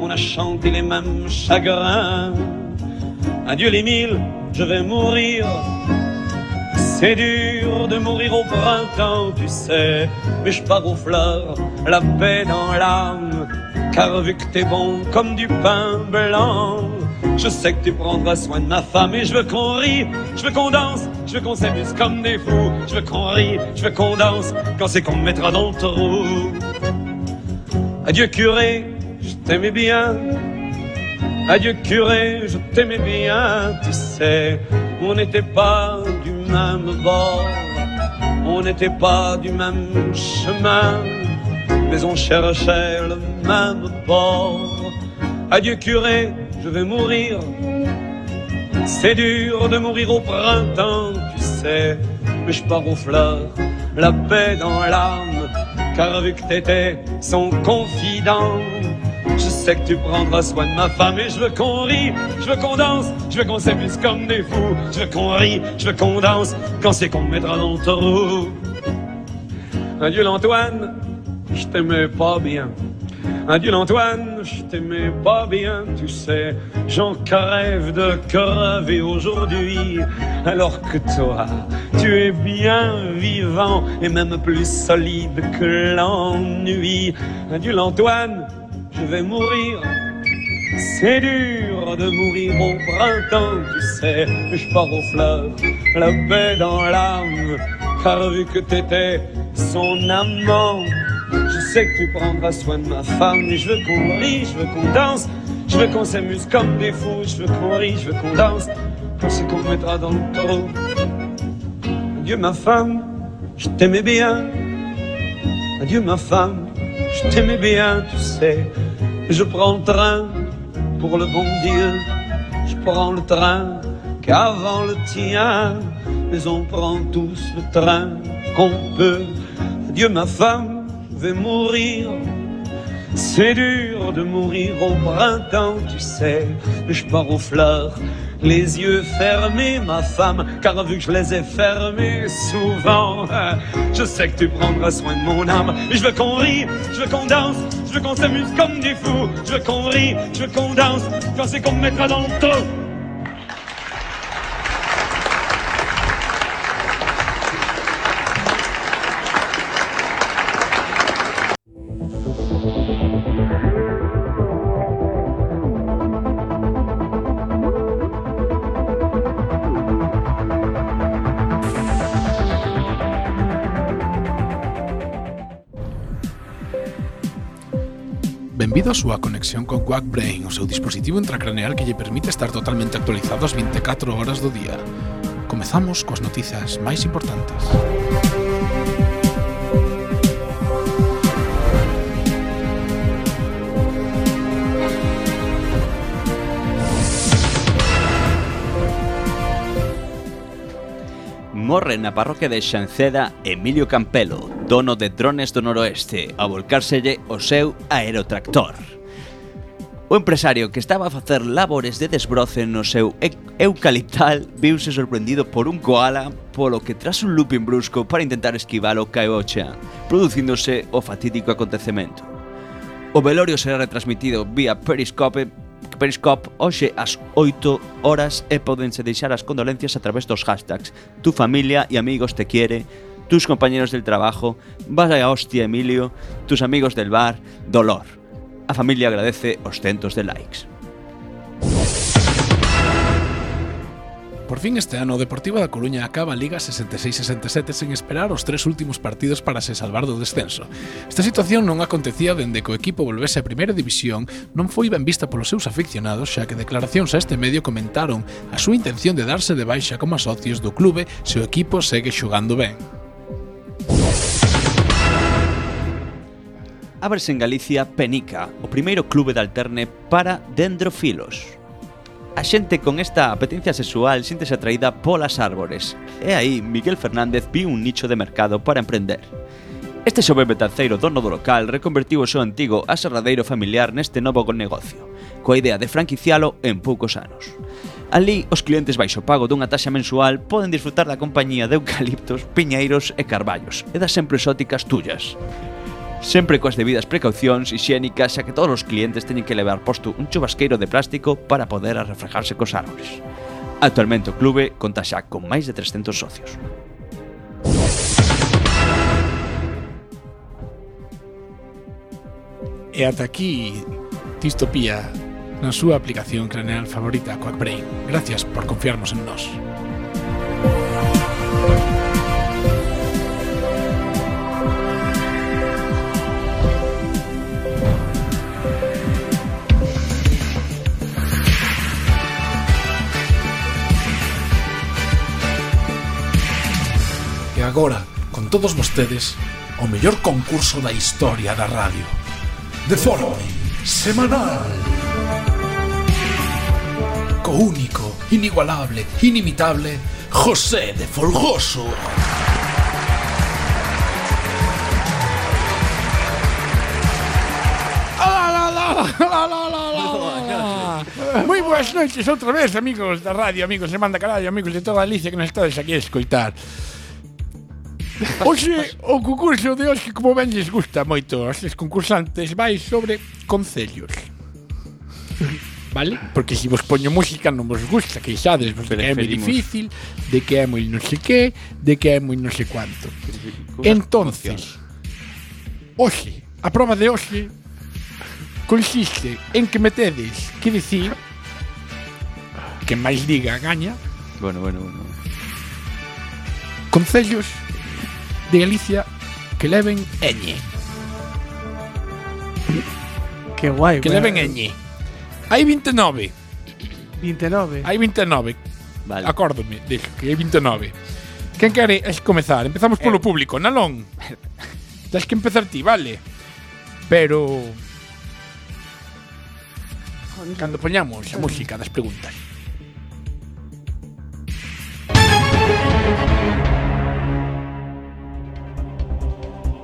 Speaker 11: On a chanté les mêmes chagrins. Adieu les mille, je vais mourir. C'est dur de mourir au printemps, tu sais. Mais je pars aux fleurs, la paix dans l'âme. Car vu que t'es bon comme du pain blanc, je sais que tu prendras soin de ma femme et je veux qu'on rie, je veux qu'on danse, je veux qu'on s'amuse comme des fous, je veux qu'on rie, je veux qu'on danse quand c'est qu'on me mettra dans le trou. Adieu curé, je t'aimais bien. Adieu curé, je t'aimais bien, tu sais, on n'était pas du même bord, on n'était pas du même chemin, mais on cherchait le même port. Adieu curé, je vais mourir. C'est dur de mourir au printemps, tu sais, mais je pars aux fleurs, la paix dans l'âme, car vu que t'étais son confident, je sais que tu prendras soin de ma femme et je veux qu'on rie, je veux qu'on danse, je veux qu'on s'amuse comme des fous, je veux qu'on rie, je veux qu'on danse quand c'est qu'on me mettra dans le trou. Adieu l'Antoine, je t'aimais pas bien. Adieu l'Antoine, je t'aimais pas bien, tu sais. J'en rêve de crever aujourd'hui, alors que toi, tu es bien vivant et même plus solide que l'ennui. Adieu l'Antoine, je vais mourir. C'est dur de mourir au printemps, tu sais. Je pars aux fleurs, la paix dans l'âme, car vu que t'étais son amant, je sais que tu prendras soin de ma femme. Et je veux qu'on rie, je veux qu'on danse, je veux qu'on s'amuse comme des fous, je veux qu'on rie, je veux qu'on danse, quand c'est qu'on me mettra dans le taureau. Adieu ma femme, je t'aimais bien. Adieu ma femme, je t'aimais bien, tu sais. Je prends le train pour le bon Dieu. Je prends le train qu'avant le tien. Mais on prend tous le train qu'on peut. Adieu ma femme, je vais mourir. C'est dur de mourir au printemps, tu sais. Mais je pars aux fleurs, les yeux fermés, ma femme, car vu que je les ai fermés souvent, euh, je sais que tu prendras soin de mon âme. Et Je veux qu'on rie, je veux qu'on danse, je veux qu'on s'amuse comme des fous, je veux qu'on rie, je veux qu'on danse, quand c'est qu'on me mettra dans le trou.
Speaker 4: Benvido a súa conexión con Quack Brain, o seu dispositivo intracraneal que lle permite estar totalmente actualizado as 24 horas do día. Comezamos coas noticias máis importantes.
Speaker 6: Morre na parroquia de Xanceda Emilio Campelo, dono de drones do noroeste, a volcárselle o seu aerotractor. O empresario que estaba a facer labores de desbroce no seu ec- eucaliptal viuse sorprendido por un koala polo que tras un looping brusco para intentar esquivalo caeu ao chan, producíndose o fatídico acontecemento. O velorio será retransmitido vía Periscope Periscope hoxe ás 8 horas e podense deixar as condolencias a través dos hashtags Tu familia e amigos te quiere Tus compañeros del trabajo Vas a hostia Emilio Tus amigos del bar Dolor A familia agradece os centos de likes.
Speaker 1: Por fin este ano, o Deportivo da Coruña acaba a Liga 66-67 sen esperar os tres últimos partidos para se salvar do descenso. Esta situación non acontecía dende que o equipo volvese a primeira división, non foi ben vista polos seus aficionados, xa que declaracións a este medio comentaron a súa intención de darse de baixa como socios do clube se o equipo segue xogando ben.
Speaker 6: Ábrese en Galicia Penica, o primeiro clube de alterne para dendrofilos. A xente con esta apetencia sexual síntese atraída polas árbores. E aí, Miguel Fernández viu un nicho de mercado para emprender. Este soberbe terceiro dono do local reconvertiu o seu antigo aserradeiro familiar neste novo negocio, coa idea de franquicialo en poucos anos. Ali, os clientes baixo pago dunha taxa mensual poden disfrutar da compañía de eucaliptos, piñeiros e carballos, e das sempre exóticas tullas. Sempre coas debidas precaucións higiénicas xa que todos os clientes teñen que levar posto un chubasqueiro de plástico para poder arrefrejarse cos árboles. Actualmente o clube conta xa con máis de 300 socios.
Speaker 1: E ata aquí, Distopía, na súa aplicación craneal favorita, Quackbrain. Gracias por confiarnos en nós. E agora, con todos vostedes, o mellor concurso da historia da radio. Deforme, semanal. Co único, inigualable, inimitable, José de Folgoso.
Speaker 4: ¡Hola, hola, hola, hola, hola, hola, hola! Muy buenas noches otra vez, amigos de radio, amigos de Manda Carallo, amigos de toda Galicia que nos estáis aquí a escoitar. Hoxe, o concurso de hoxe, como ben lles gusta moito aos seus concursantes, vai sobre concellos. Vale? Porque se vos poño música non vos gusta, que xades, vos de que é moi
Speaker 1: Preferimos.
Speaker 4: difícil, de que é moi non sei que, de que é moi non sei cuánto. Entonces, hoxe, a prova de hoxe consiste en que metedes que dicir que máis diga gaña
Speaker 6: Bueno, bueno, bueno.
Speaker 4: concellos de Galicia que leven ñ.
Speaker 2: Que guai.
Speaker 4: Que
Speaker 2: bueno.
Speaker 4: leven ñ. Hai e 29. 29. Hai 29.
Speaker 6: Vale.
Speaker 4: Acórdome, dixo que hai 29. Quen quere es comezar? Empezamos polo público, Nalón. Tens que empezar ti, vale. Pero cando poñamos a música das preguntas.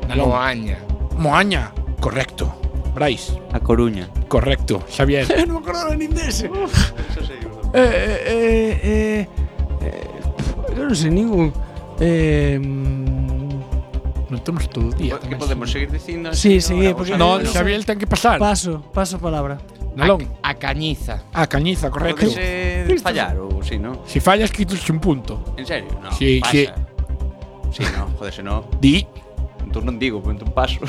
Speaker 4: Nalón. Moaña. Moaña, correcto. Brais.
Speaker 6: A Coruña.
Speaker 4: Correcto, Xavier.
Speaker 2: Eh,
Speaker 12: non me acordaba nin dese. eh, eh, eh, eh, eh, pff, eu non sei ningún. Eh,
Speaker 4: non temos todo o día.
Speaker 6: Que podemos seguir dicindo?
Speaker 2: Sí, sí, porque
Speaker 4: ten que pasar.
Speaker 2: Paso, paso palabra.
Speaker 4: Nalón.
Speaker 7: A, cañiza.
Speaker 4: A cañiza, correcto.
Speaker 6: Porque se fallar ou si, non?
Speaker 4: Si fallas, quitas un punto.
Speaker 6: En serio? Eh, No,
Speaker 4: Sí,
Speaker 6: pasa.
Speaker 4: sí.
Speaker 6: Sí, no, joder, se no.
Speaker 4: Di.
Speaker 6: Entón non digo, ponte un paso.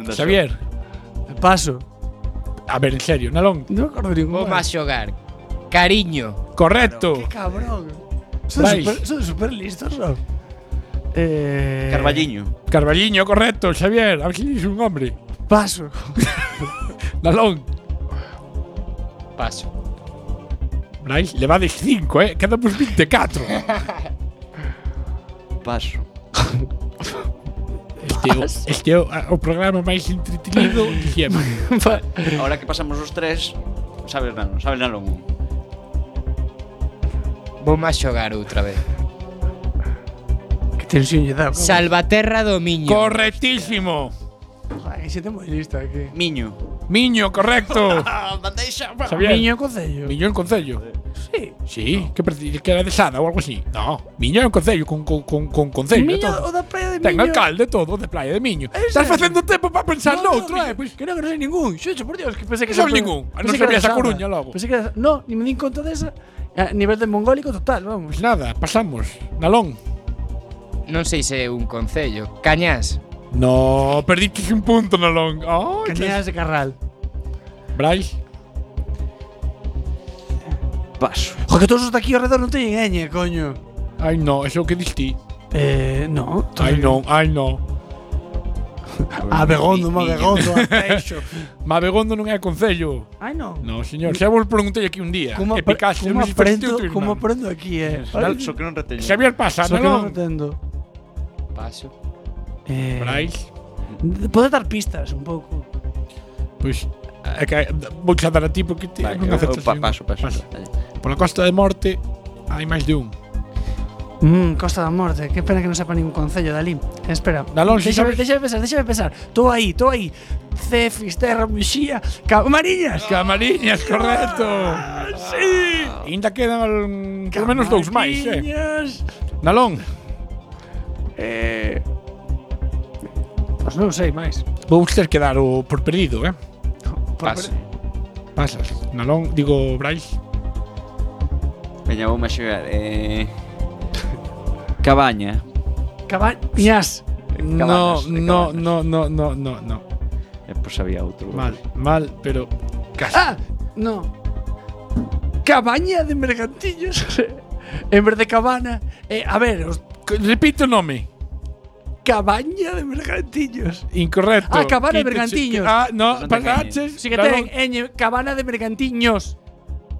Speaker 6: Entón
Speaker 4: Xavier.
Speaker 2: Paso.
Speaker 4: A ver, en serio, Nalón.
Speaker 2: Non acordo
Speaker 4: Oh,
Speaker 2: ningún.
Speaker 7: Vou máis xogar. Cariño.
Speaker 4: Correcto.
Speaker 2: Cabrón. Son
Speaker 4: Vais.
Speaker 2: super, son super listos, non? Eh...
Speaker 6: Carballiño.
Speaker 4: Carballiño, correcto, Xavier. A ver si dis un hombre.
Speaker 2: Paso.
Speaker 4: Nalón.
Speaker 7: Paso.
Speaker 4: Brais, levades 5, eh. Quedamos 24.
Speaker 6: Paso.
Speaker 4: Este, é o- este é o, a- o programa máis entretenido de sempre.
Speaker 6: Ahora que pasamos os tres, sabes nano, sabes nano.
Speaker 7: Vou máis xogar outra vez.
Speaker 2: Que tensión lle dá.
Speaker 7: Salvaterra do Miño.
Speaker 4: Correctísimo.
Speaker 2: Ai, xente moi lista aquí.
Speaker 6: Miño.
Speaker 4: Miño, correcto. Xavier.
Speaker 2: Miño Concello.
Speaker 4: Miño en Concello.
Speaker 2: Sí.
Speaker 4: Sí, que, parece- que era de Sada ou algo así. No, Miño é un concello, con, con, con, con concello.
Speaker 2: Miño,
Speaker 4: e
Speaker 2: o
Speaker 4: todo.
Speaker 2: da Praia de
Speaker 4: Ten
Speaker 2: Miño.
Speaker 4: alcalde todo, de Praia de Miño. Estás facendo tempo para pensar noutro, eh? Pois
Speaker 2: que non, que non sei ningún. Xocho, por Dios, que pensei que
Speaker 4: Non
Speaker 2: era-
Speaker 4: ningún.
Speaker 2: pensei
Speaker 4: Non
Speaker 2: que era
Speaker 4: sabías a
Speaker 2: Sada.
Speaker 4: Coruña logo.
Speaker 2: Pensei que era, no, ni me din conta desa. A nivel de mongólico total, vamos.
Speaker 4: Nada, pasamos. Pues Nalón.
Speaker 7: Non sei se é un concello. Cañás.
Speaker 4: No, perdiste un punto, Oh, Nolong.
Speaker 2: Cañadas de Carral.
Speaker 4: Bryce.
Speaker 6: Paso.
Speaker 2: Jo, que todos os daqui ao redor non teñen ñ, coño.
Speaker 4: Ai, no, eso que diste.
Speaker 2: Eh, no.
Speaker 4: Ai, no, ai, no.
Speaker 2: A Begondo, má Begondo, a Teixo.
Speaker 4: má Begondo non é concello.
Speaker 2: Ai, non.
Speaker 4: No, señor, xa vos preguntei aquí un día.
Speaker 2: Como,
Speaker 4: e
Speaker 2: apre
Speaker 4: picaste,
Speaker 2: como
Speaker 4: non fixeste
Speaker 2: aprendo,
Speaker 4: o teu
Speaker 2: como
Speaker 4: irmán.
Speaker 2: aprendo aquí, eh. Ai,
Speaker 4: Dal- so que non reteño. Xavier, pasa,
Speaker 2: so que
Speaker 4: Nolong.
Speaker 2: non retendo.
Speaker 13: Paso.
Speaker 2: Eh,
Speaker 4: Brais.
Speaker 2: Pode dar pistas un pouco.
Speaker 4: Pois, pues, é que eh, vou xa dar a ti porque ti
Speaker 6: Vale,
Speaker 4: non
Speaker 6: eu-
Speaker 4: aceptas.
Speaker 6: eu pa-
Speaker 4: ningún.
Speaker 6: paso, paso.
Speaker 4: Pola Costa de Morte hai máis de un.
Speaker 2: Mm, Costa da Morte, que pena que non sepa ningún concello dali. Espera.
Speaker 4: Dalón, si
Speaker 2: déxame,
Speaker 4: sabes-
Speaker 2: déxame pensar, déxame pensar. Todo aí, todo aí. Cefis, Terra, Muxía, Camariñas.
Speaker 4: Camariñas, correcto.
Speaker 2: Ah,
Speaker 4: Sí. Ainda quedan mm, polo menos dous máis, eh.
Speaker 2: Camariñas.
Speaker 4: Nalón,
Speaker 2: Eh, Pois non sei máis.
Speaker 4: vou ter que dar o por perdido, eh.
Speaker 6: Paso.
Speaker 4: Pasas. Nalón, digo Brais.
Speaker 6: Veña, vou a xogar. Eh... Cabaña.
Speaker 2: Cabañas.
Speaker 4: No, no, no, no, no, no, no.
Speaker 6: Eh, pois había outro.
Speaker 4: Mal, mal, pero casi.
Speaker 2: Ah, no. Cabaña de mergantillos. en vez de cabana. Eh, a ver, os-
Speaker 4: Repito o nome.
Speaker 2: cabaña de mergantillos.
Speaker 4: Incorrecto.
Speaker 2: Ah, cabana de
Speaker 4: Quítache-
Speaker 2: mergantiños.
Speaker 4: Ah, no, paraches.
Speaker 2: Sí que ten, eh. ñ, cabana de mergantiños.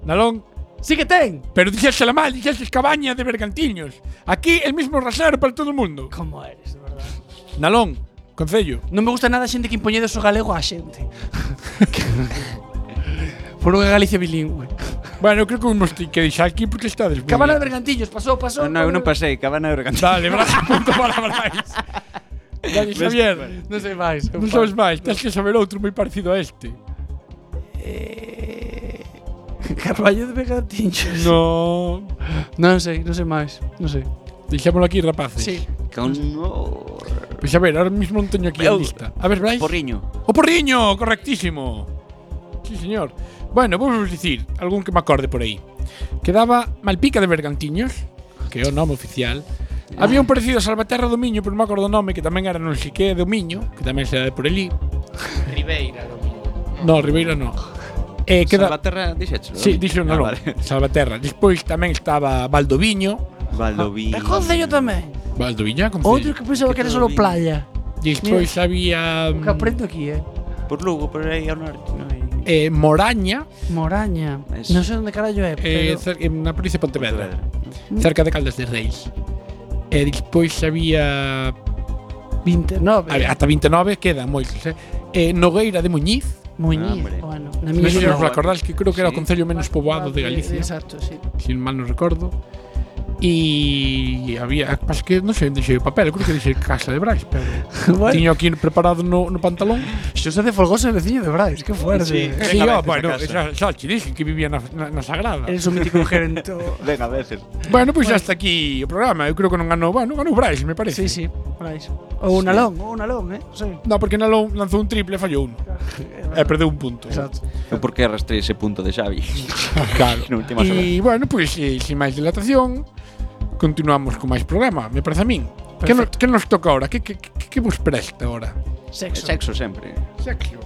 Speaker 4: Nalón.
Speaker 2: Sí que ten.
Speaker 4: Pero dixésela mal, dixeses cabaña de mercantiños. Aquí el mismo rasero para todo o mundo.
Speaker 2: Como eres, de verdad.
Speaker 4: Nalón, concello.
Speaker 2: Non me gusta nada a xente que impoñedes o galego á xente. Por unha Galicia bilingüe.
Speaker 4: Bueno, eu creo que vamos ter que deixar aquí porque estades moi
Speaker 2: Cabana de
Speaker 4: bien.
Speaker 2: mergantillos, pasou, pasou.
Speaker 6: No, eu non pasei, cabana de Bergantín.
Speaker 4: Dale, brazo, punto para Brais. Dale,
Speaker 6: Ves,
Speaker 4: Xavier.
Speaker 6: vale.
Speaker 2: Non sei máis.
Speaker 4: Non sabes máis, tens que saber outro moi parecido a este.
Speaker 2: Carballo de mergantillos.
Speaker 4: No.
Speaker 2: Non sei, non sei máis, non sei.
Speaker 4: Deixámoslo aquí, rapaces.
Speaker 2: Sí.
Speaker 6: Con...
Speaker 4: Pois a ver, ahora mismo non teño aquí a
Speaker 6: Eu-
Speaker 4: lista. A ver, Brais.
Speaker 6: Porriño.
Speaker 4: O porriño, correctísimo. Sí, señor. Bueno, vou vos dicir algún que me acorde por aí. Quedaba Malpica de Bergantiños, que é o nome oficial. Había un parecido a Salvaterra do Miño, pero non me acordo o nome, que tamén era non sei que do Miño, que tamén se por ali.
Speaker 13: Ribeira do Miño.
Speaker 4: No, Ribeira non. Eh, queda...
Speaker 6: Salvaterra, dixéchelo.
Speaker 4: Sí, dixo
Speaker 6: Ah,
Speaker 4: non, non.
Speaker 6: vale.
Speaker 4: Salvaterra. Despois tamén estaba Valdoviño.
Speaker 6: Valdoví.
Speaker 2: É concello tamén.
Speaker 4: Valdoviño,
Speaker 2: Outro
Speaker 4: concello.
Speaker 2: que pensaba que era solo playa.
Speaker 4: Despois había
Speaker 2: O que aprendo aquí, eh.
Speaker 6: Por Lugo, por aí ao norte. Non hai...
Speaker 4: eh, Moraña,
Speaker 2: Moraña.
Speaker 6: Es-
Speaker 2: Non sei onde carallo é,
Speaker 4: eh,
Speaker 2: pero...
Speaker 4: cer- en na provincia de Pontevedra. Mm. cerca de Caldas de Reis. E despois había,
Speaker 2: 29.
Speaker 4: había ata 29 queda moitos, eh? E Nogueira de Muñiz,
Speaker 2: Muñiz,
Speaker 6: Hombre.
Speaker 2: bueno, na
Speaker 4: non
Speaker 2: miña
Speaker 4: sei se
Speaker 2: vida.
Speaker 4: os acordás que creo que era o
Speaker 6: Sí.
Speaker 4: concello menos poboado de Galicia,
Speaker 2: Exacto, sí.
Speaker 4: se mal non recordo. E había, pasa que non sei onde deixei o papel, creo que deixei Casa de Brais, pero
Speaker 2: Bueno.
Speaker 4: tiño aquí preparado no, no pantalón.
Speaker 2: Xosé de Folgoso é veciño de Brais, que fuerte.
Speaker 6: Sí.
Speaker 4: Sí,
Speaker 6: Venga,
Speaker 4: oh,
Speaker 6: veces
Speaker 4: bueno,
Speaker 6: a casa.
Speaker 4: xa, xa che dixen que vivía na, na, na Sagrada.
Speaker 2: Eres un mítico gerente.
Speaker 6: Ven a veces.
Speaker 4: Bueno, pois pues, hasta aquí o programa. Eu creo que non ganou, bueno, ganou Brais, me
Speaker 2: sí,
Speaker 4: parece.
Speaker 2: sí, Brais. Ou un alón, ou un alón, eh? Sí.
Speaker 4: No, porque Nalón lanzou un triple e fallou uno. e perdeu un punto.
Speaker 2: Exacto.
Speaker 6: Eu por que arrastrei ese punto de Xavi?
Speaker 4: Claro.
Speaker 6: Na última
Speaker 4: E, bueno, pois, eh, sin máis dilatación, continuamos con máis programa, me parece a min. Que, no, que nos toca ahora? Que, que, que, que vos presta ahora?
Speaker 2: Sexo.
Speaker 6: Sexo sempre.
Speaker 4: Sexo.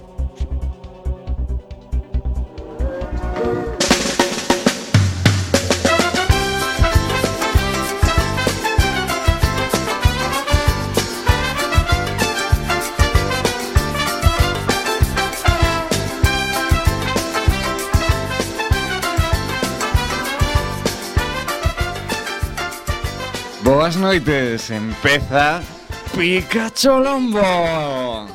Speaker 14: Boas noites, empeza Pikachu Lombo.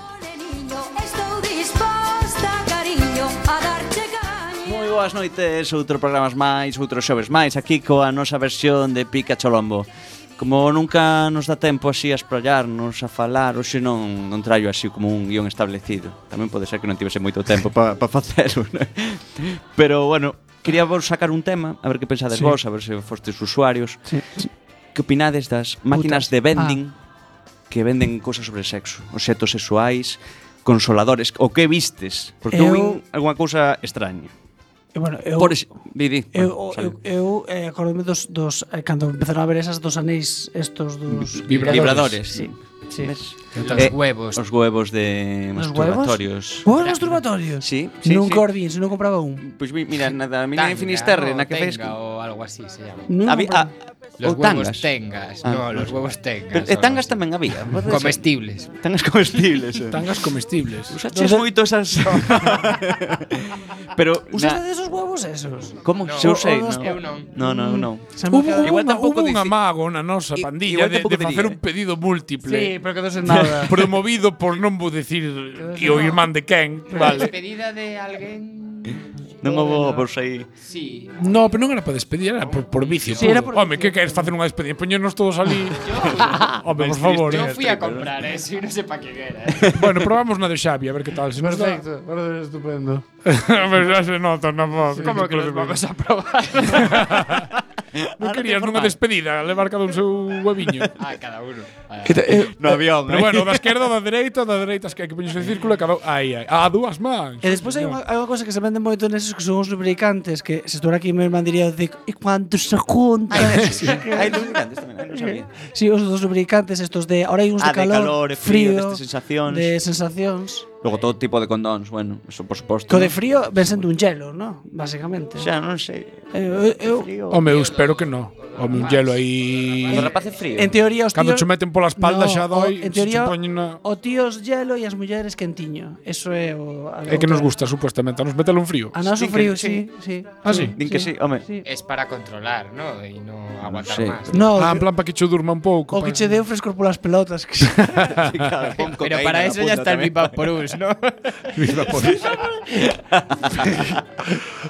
Speaker 5: Estou disposta, cariño, a darte caña.
Speaker 6: Moi boas noites, outro programas máis, outros xoves máis, aquí coa nosa versión de Pica Cholombo. Como nunca nos dá tempo así a esprollarnos, a falar, hoxe non, non traio así como un guión establecido. Tamén pode ser que non tivese moito tempo para pa facelo, né? Pero, bueno, quería vos sacar un tema, a ver que pensades
Speaker 2: Sí.
Speaker 6: vos, a ver se fostes usuarios. Que opinades das
Speaker 2: Putas.
Speaker 6: máquinas de vending que venden cousas sobre sexo, obxetos sexuais, consoladores, o que vistes? Porque
Speaker 2: Eu-
Speaker 6: eu, vin algunha cousa extraña.
Speaker 2: E eh, bueno, eu,
Speaker 6: Por ex... Didi.
Speaker 2: eu,
Speaker 6: bueno,
Speaker 2: eu,
Speaker 6: sale.
Speaker 2: eu eh, acordome dos, dos eh, cando empezaron a ver esas dos anéis estos dos
Speaker 6: Vibradores.
Speaker 2: Sí. Sí.
Speaker 6: Los huevos. Eh, Os huevos de
Speaker 2: Os
Speaker 6: masturbatorios.
Speaker 2: huevos? Huevos masturbatorios?
Speaker 6: Sí, sí,
Speaker 2: Nunca
Speaker 6: sí.
Speaker 2: os vi, se non compraba un.
Speaker 6: Pois mi- mira, na da miña
Speaker 1: Tanga,
Speaker 6: Finisterre,
Speaker 1: no,
Speaker 6: na que fez...
Speaker 1: tenga O algo así se llama.
Speaker 6: Non Había- compraba. ah,
Speaker 1: los
Speaker 6: ou
Speaker 1: huevos
Speaker 6: tangas.
Speaker 1: tengas.
Speaker 6: Ah,
Speaker 1: no, los
Speaker 6: los-
Speaker 1: huevos tengas.
Speaker 6: Pero,
Speaker 1: o
Speaker 6: e
Speaker 1: algo así.
Speaker 6: tangas tamén había. Pode ser.
Speaker 1: Comestibles.
Speaker 6: Tangas comestibles. eh.
Speaker 4: Tangas comestibles.
Speaker 6: Usaches moito esas... Pero...
Speaker 2: Usaste
Speaker 6: na-
Speaker 2: desos huevos esos?
Speaker 6: Como?
Speaker 2: No.
Speaker 6: Se usei,
Speaker 2: O- o dos-
Speaker 6: non. Mm.
Speaker 2: eu non.
Speaker 6: No, no, no.
Speaker 4: Hubo, hubo,
Speaker 6: Igual
Speaker 4: una,
Speaker 6: tampouco
Speaker 4: hubo un
Speaker 6: dici-
Speaker 4: amago na nosa
Speaker 6: I-
Speaker 4: pandilla
Speaker 6: igual
Speaker 4: de,
Speaker 6: tampouco
Speaker 4: de facer
Speaker 6: diría,
Speaker 4: un pedido múltiple.
Speaker 2: Sí, pero quedou sen nada.
Speaker 4: Promovido por non vou decir e o irmán de quen,
Speaker 1: Pero
Speaker 4: vale.
Speaker 1: Despedida de alguén.
Speaker 6: Non houve pois aí.
Speaker 1: Sí.
Speaker 4: No, pero non era para despedir, era por, por vicio.
Speaker 1: Sí,
Speaker 4: puro.
Speaker 1: era por
Speaker 4: Home, que queres facer unha despedida? Poñernos todos ali. Home, por favor.
Speaker 1: Yo
Speaker 4: eh.
Speaker 1: fui a comprar eso y no sé para qué era.
Speaker 4: bueno, probamos na de Xavi, a ver que tal. Se nos dá.
Speaker 15: parece estupendo.
Speaker 4: Pero xa se nota na voz.
Speaker 1: Como que los vamos a probar.
Speaker 4: Non querías nunha despedida, levar cada un seu hueviño.
Speaker 1: Ah, cada uno.
Speaker 6: no avión.
Speaker 4: Pero bueno, da esquerda, da dereita, da dereita, es que hai que poñerse en círculo e cada aí, aí. A ah, dúas mans.
Speaker 2: E despois hai unha, hai unha cosa que se vende moito neses que son os lubricantes que se estuera aquí meu irmán diría de, e cuánto se junta.
Speaker 6: Hai lubricantes tamén, non sabía.
Speaker 2: Sí, os dos lubricantes estos de ahora hai uns
Speaker 6: Ah,
Speaker 2: de
Speaker 6: de
Speaker 2: calor,
Speaker 6: calor e frío, destas sensacións.
Speaker 2: De sensacións.
Speaker 6: Logo todo tipo de condóns, bueno, eso por suposto.
Speaker 2: Co de frío ven sendo un gelo, ¿no? Basicamente.
Speaker 6: Xa, non sei.
Speaker 2: Eu, eu,
Speaker 4: Home, eu espero que non. Home, un gelo aí.
Speaker 2: Os
Speaker 6: rapaces frío.
Speaker 2: En teoría os tíos
Speaker 4: Cando che meten pola espalda
Speaker 2: No,
Speaker 4: xa
Speaker 2: o-
Speaker 4: doi.
Speaker 2: En teoría
Speaker 4: se che poñen na-
Speaker 2: o tíos hielo e as mulleres quentiño. Eso é o a
Speaker 4: É que nos
Speaker 2: outra-
Speaker 4: gusta, supuestamente. A nos metelo un frío.
Speaker 2: A nós o frío, sí, sí.
Speaker 4: Ah, sí.
Speaker 6: Din que sí, home.
Speaker 1: Es para controlar, ¿no? Y no aguantar
Speaker 4: sei.
Speaker 1: más.
Speaker 2: No,
Speaker 4: ah,
Speaker 2: que-
Speaker 4: en plan para que che durma un pouco.
Speaker 2: O que che deu frescor polas pelotas. que-
Speaker 1: Pero para eso ya está el Vivaporus, ¿no?
Speaker 4: Vivaporus.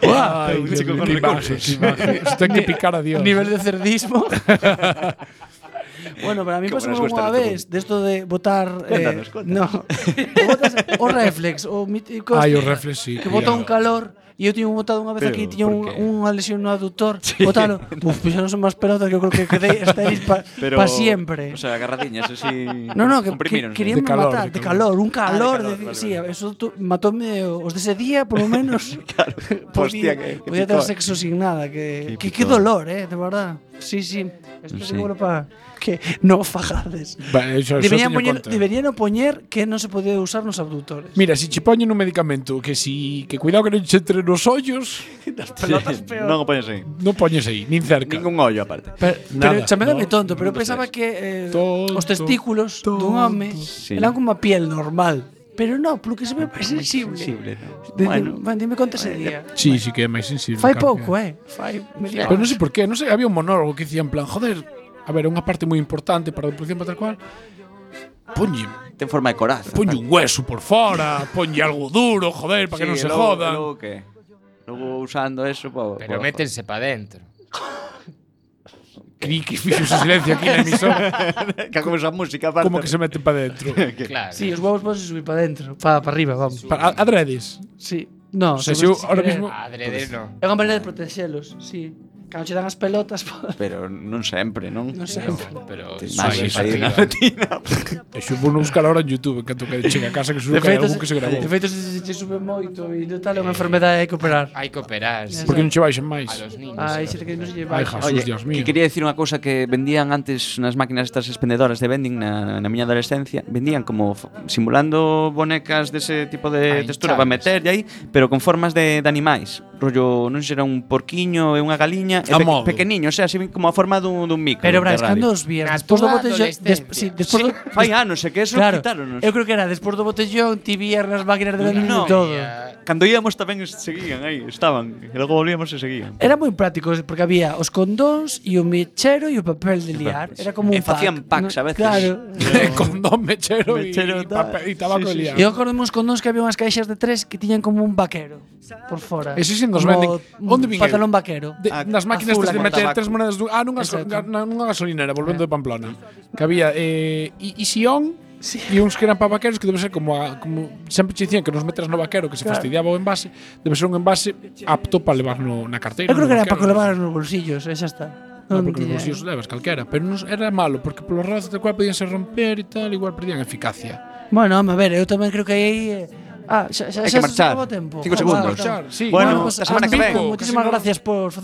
Speaker 1: Guau,
Speaker 4: Ay,
Speaker 1: un
Speaker 4: Dios
Speaker 1: chico
Speaker 4: mío,
Speaker 1: con
Speaker 4: qué
Speaker 1: recursos.
Speaker 4: imagen, qué imagen. Esto hay que
Speaker 2: Ni-
Speaker 4: picar a Dios.
Speaker 2: Nivel de cerdismo. bueno, para mí
Speaker 4: Como
Speaker 2: pasou
Speaker 4: nos gusta
Speaker 2: unha
Speaker 4: nuestro
Speaker 2: vez de esto de botar eh,
Speaker 4: Cuéntanos,
Speaker 2: no. o, botas, o reflex, o mítico
Speaker 4: Ai, o
Speaker 2: este,
Speaker 4: reflex, sí,
Speaker 2: Que bota
Speaker 4: cuidado.
Speaker 2: un calor e eu tiño botado unha vez
Speaker 4: Pero,
Speaker 2: aquí, tiña
Speaker 4: por
Speaker 2: un, unha lesión no aductor, botalo. Uf, pois xa non son máis pelotas que eu creo que quedei estáis pa,
Speaker 6: Pero,
Speaker 2: pa siempre.
Speaker 6: O sea, agarradiñas así.
Speaker 2: No, no, que, que
Speaker 6: comprimiron,
Speaker 2: querían
Speaker 6: De calor,
Speaker 2: matar,
Speaker 6: de
Speaker 2: de calor, un
Speaker 6: Ah, de
Speaker 2: calor.
Speaker 6: calor,
Speaker 2: de-
Speaker 6: vale,
Speaker 2: sí, eso tu- matóme os de ese día, por lo menos. podía,
Speaker 6: hostia, que- que
Speaker 2: podía tener
Speaker 6: picor.
Speaker 2: sexo sin nada. Que,
Speaker 6: Qué
Speaker 2: que, qué
Speaker 6: picor.
Speaker 2: dolor, eh, de verdad. Sí, sí. Esto
Speaker 6: Sí.
Speaker 2: seguro para que no fajades.
Speaker 4: Vale, eso- eso
Speaker 2: deberían,
Speaker 4: tiña
Speaker 2: poñer,
Speaker 4: conta.
Speaker 2: deberían opoñer que no se podía usar los abductores.
Speaker 4: Mira, si che poñen un medicamento que si que cuidado que non che entre nos ollos,
Speaker 2: Pelotas peor.
Speaker 6: Non o poñes aí.
Speaker 4: non poñes aí, nin cerca.
Speaker 6: pues Ningún ollo aparte.
Speaker 2: Pero,
Speaker 4: Nada,
Speaker 2: pero chamédame
Speaker 4: no.
Speaker 2: tonto, pero pensaba que eh, os testículos de un home
Speaker 6: Sí.
Speaker 2: eran como a piel normal. Pero no, porque se
Speaker 4: Ah,
Speaker 2: ve máis sensible.
Speaker 6: sensible, no.
Speaker 2: De-
Speaker 6: Bueno.
Speaker 2: de- dime conta ese día.
Speaker 4: Sí, sí que é máis sensible.
Speaker 2: Fai
Speaker 4: claro que
Speaker 2: pouco, eh. Fai media
Speaker 4: Pero non sei por qué, non sei, había un monólogo que dicía en plan, joder, a ver, é unha parte moi importante para a depresión para tal cual. Ponlle,
Speaker 6: Ten forma de coraza.
Speaker 4: ponlle un hueso por fora, ponlle algo duro, joder, para que non se jodan.
Speaker 6: Logo que Logo usando eso pues, po,
Speaker 1: Pero métense pa dentro.
Speaker 4: Cri que fixo silencio aquí na emisora.
Speaker 6: que como esa música aparte.
Speaker 4: Como que se meten para dentro.
Speaker 1: claro.
Speaker 2: Sí, os huevos podes subir para dentro, para pa arriba, vamos.
Speaker 4: Para, adredes.
Speaker 2: Sí. No,
Speaker 4: o
Speaker 2: sobre-
Speaker 4: sea, se eu
Speaker 2: si
Speaker 4: ahora
Speaker 2: querer.
Speaker 4: mismo
Speaker 1: Adrede no.
Speaker 2: É unha maneira de protexelos, sí. Cando che dan as pelotas, po-
Speaker 4: Eh,
Speaker 6: Pero non sempre, non?
Speaker 2: Non sempre. No,
Speaker 1: pero
Speaker 6: Te
Speaker 4: sí,
Speaker 6: imaginas
Speaker 4: sí,
Speaker 6: aí
Speaker 4: sí.
Speaker 6: na retina.
Speaker 4: Eso vou buscar ahora en YouTube, en canto que chegue a casa que
Speaker 2: de
Speaker 4: suba
Speaker 2: feito,
Speaker 4: algo que se grabou.
Speaker 2: de feito, se se che sube moito e de tal, é unha enfermedade hai que operar.
Speaker 4: Ah,
Speaker 1: Hai que operar. sí.
Speaker 6: eh?
Speaker 4: Porque non che baixen máis.
Speaker 1: A los niños.
Speaker 2: Ai, se que non se lle
Speaker 4: Ai,
Speaker 2: vai.
Speaker 4: Jesús,
Speaker 6: Oye,
Speaker 4: Dios
Speaker 6: que
Speaker 4: mío.
Speaker 6: quería decir unha cousa que vendían antes nas máquinas estas expendedoras de vending na, na miña adolescencia, vendían como f- simulando bonecas dese tipo de
Speaker 16: Ah,
Speaker 6: textura para meter aí, pero con formas de, de animais. Rollo, non sei se era un porquiño e unha galiña, e
Speaker 4: A
Speaker 6: pe,
Speaker 4: modo.
Speaker 6: pequeniño, o sea, así como a forma dun, dun micro.
Speaker 2: Pero Brais,
Speaker 6: de radio.
Speaker 2: cando os vías, despois do
Speaker 1: túa
Speaker 2: botellón, des,
Speaker 1: adolescencia.
Speaker 2: sí, despois do,
Speaker 6: Fai anos, é que eso
Speaker 2: claro,
Speaker 6: quitáronos.
Speaker 2: Eu creo que era despois do botellón, ti vías nas máquinas de vending no, todo.
Speaker 6: Cando íamos tamén seguían aí, estaban, e logo volvíamos e seguían.
Speaker 2: Era moi práctico porque había os condóns e o mechero e o papel de liar. Era como un
Speaker 6: E facían
Speaker 2: pack,
Speaker 6: packs a veces.
Speaker 2: Claro.
Speaker 4: Condón, mechero,
Speaker 6: Mechero,
Speaker 4: y,
Speaker 6: tal.
Speaker 4: papel, y tabaco
Speaker 6: Sí,
Speaker 4: de
Speaker 6: sí,
Speaker 4: liar.
Speaker 2: Eu acordo uns condóns que había unhas caixas de tres que tiñan como un vaquero por fora.
Speaker 4: Eses sí nos
Speaker 2: Como
Speaker 4: venden.
Speaker 2: un
Speaker 4: Onde vin eu?
Speaker 2: Pantalón vaquero.
Speaker 4: De, nas máquinas
Speaker 2: azul,
Speaker 4: estas de
Speaker 2: aquel
Speaker 4: meter
Speaker 2: tabaco.
Speaker 4: tres monedas dun, ah, nunha, gaso, ga, na- nunha gasolinera volvendo
Speaker 2: Eh.
Speaker 4: de Pamplona. Que había eh i- isión sí. e uns que eran para vaqueros que debe ser como a, como sempre che dicían que nos meteras no vaquero que se
Speaker 2: Claro.
Speaker 4: fastidiaba o envase, debe ser un envase apto para levar no, na
Speaker 2: Eu
Speaker 4: carteira.
Speaker 2: creo
Speaker 4: no
Speaker 2: que era
Speaker 4: vaquero,
Speaker 2: para levar nos bolsillos, e xa está. Non
Speaker 4: No, Ah, porque os
Speaker 2: tiña-
Speaker 4: bolsillos levas calquera, pero non era malo porque polo razo tal cual podían se romper e tal, igual perdían eficacia.
Speaker 2: Bueno, home, a ver, eu tamén creo que aí eh, Ah, xa, xa, xa
Speaker 4: Hai que
Speaker 2: se
Speaker 4: marchar.
Speaker 2: acabou o tempo.
Speaker 4: Cinco
Speaker 2: Ah,
Speaker 4: segundos.
Speaker 2: vale,
Speaker 4: Marchar, sí.
Speaker 2: Bueno,
Speaker 4: Bueno,
Speaker 2: pues,
Speaker 4: a semana que
Speaker 2: Armando,
Speaker 4: ven.
Speaker 2: Muchísimas
Speaker 4: Casi no-
Speaker 2: gracias por facer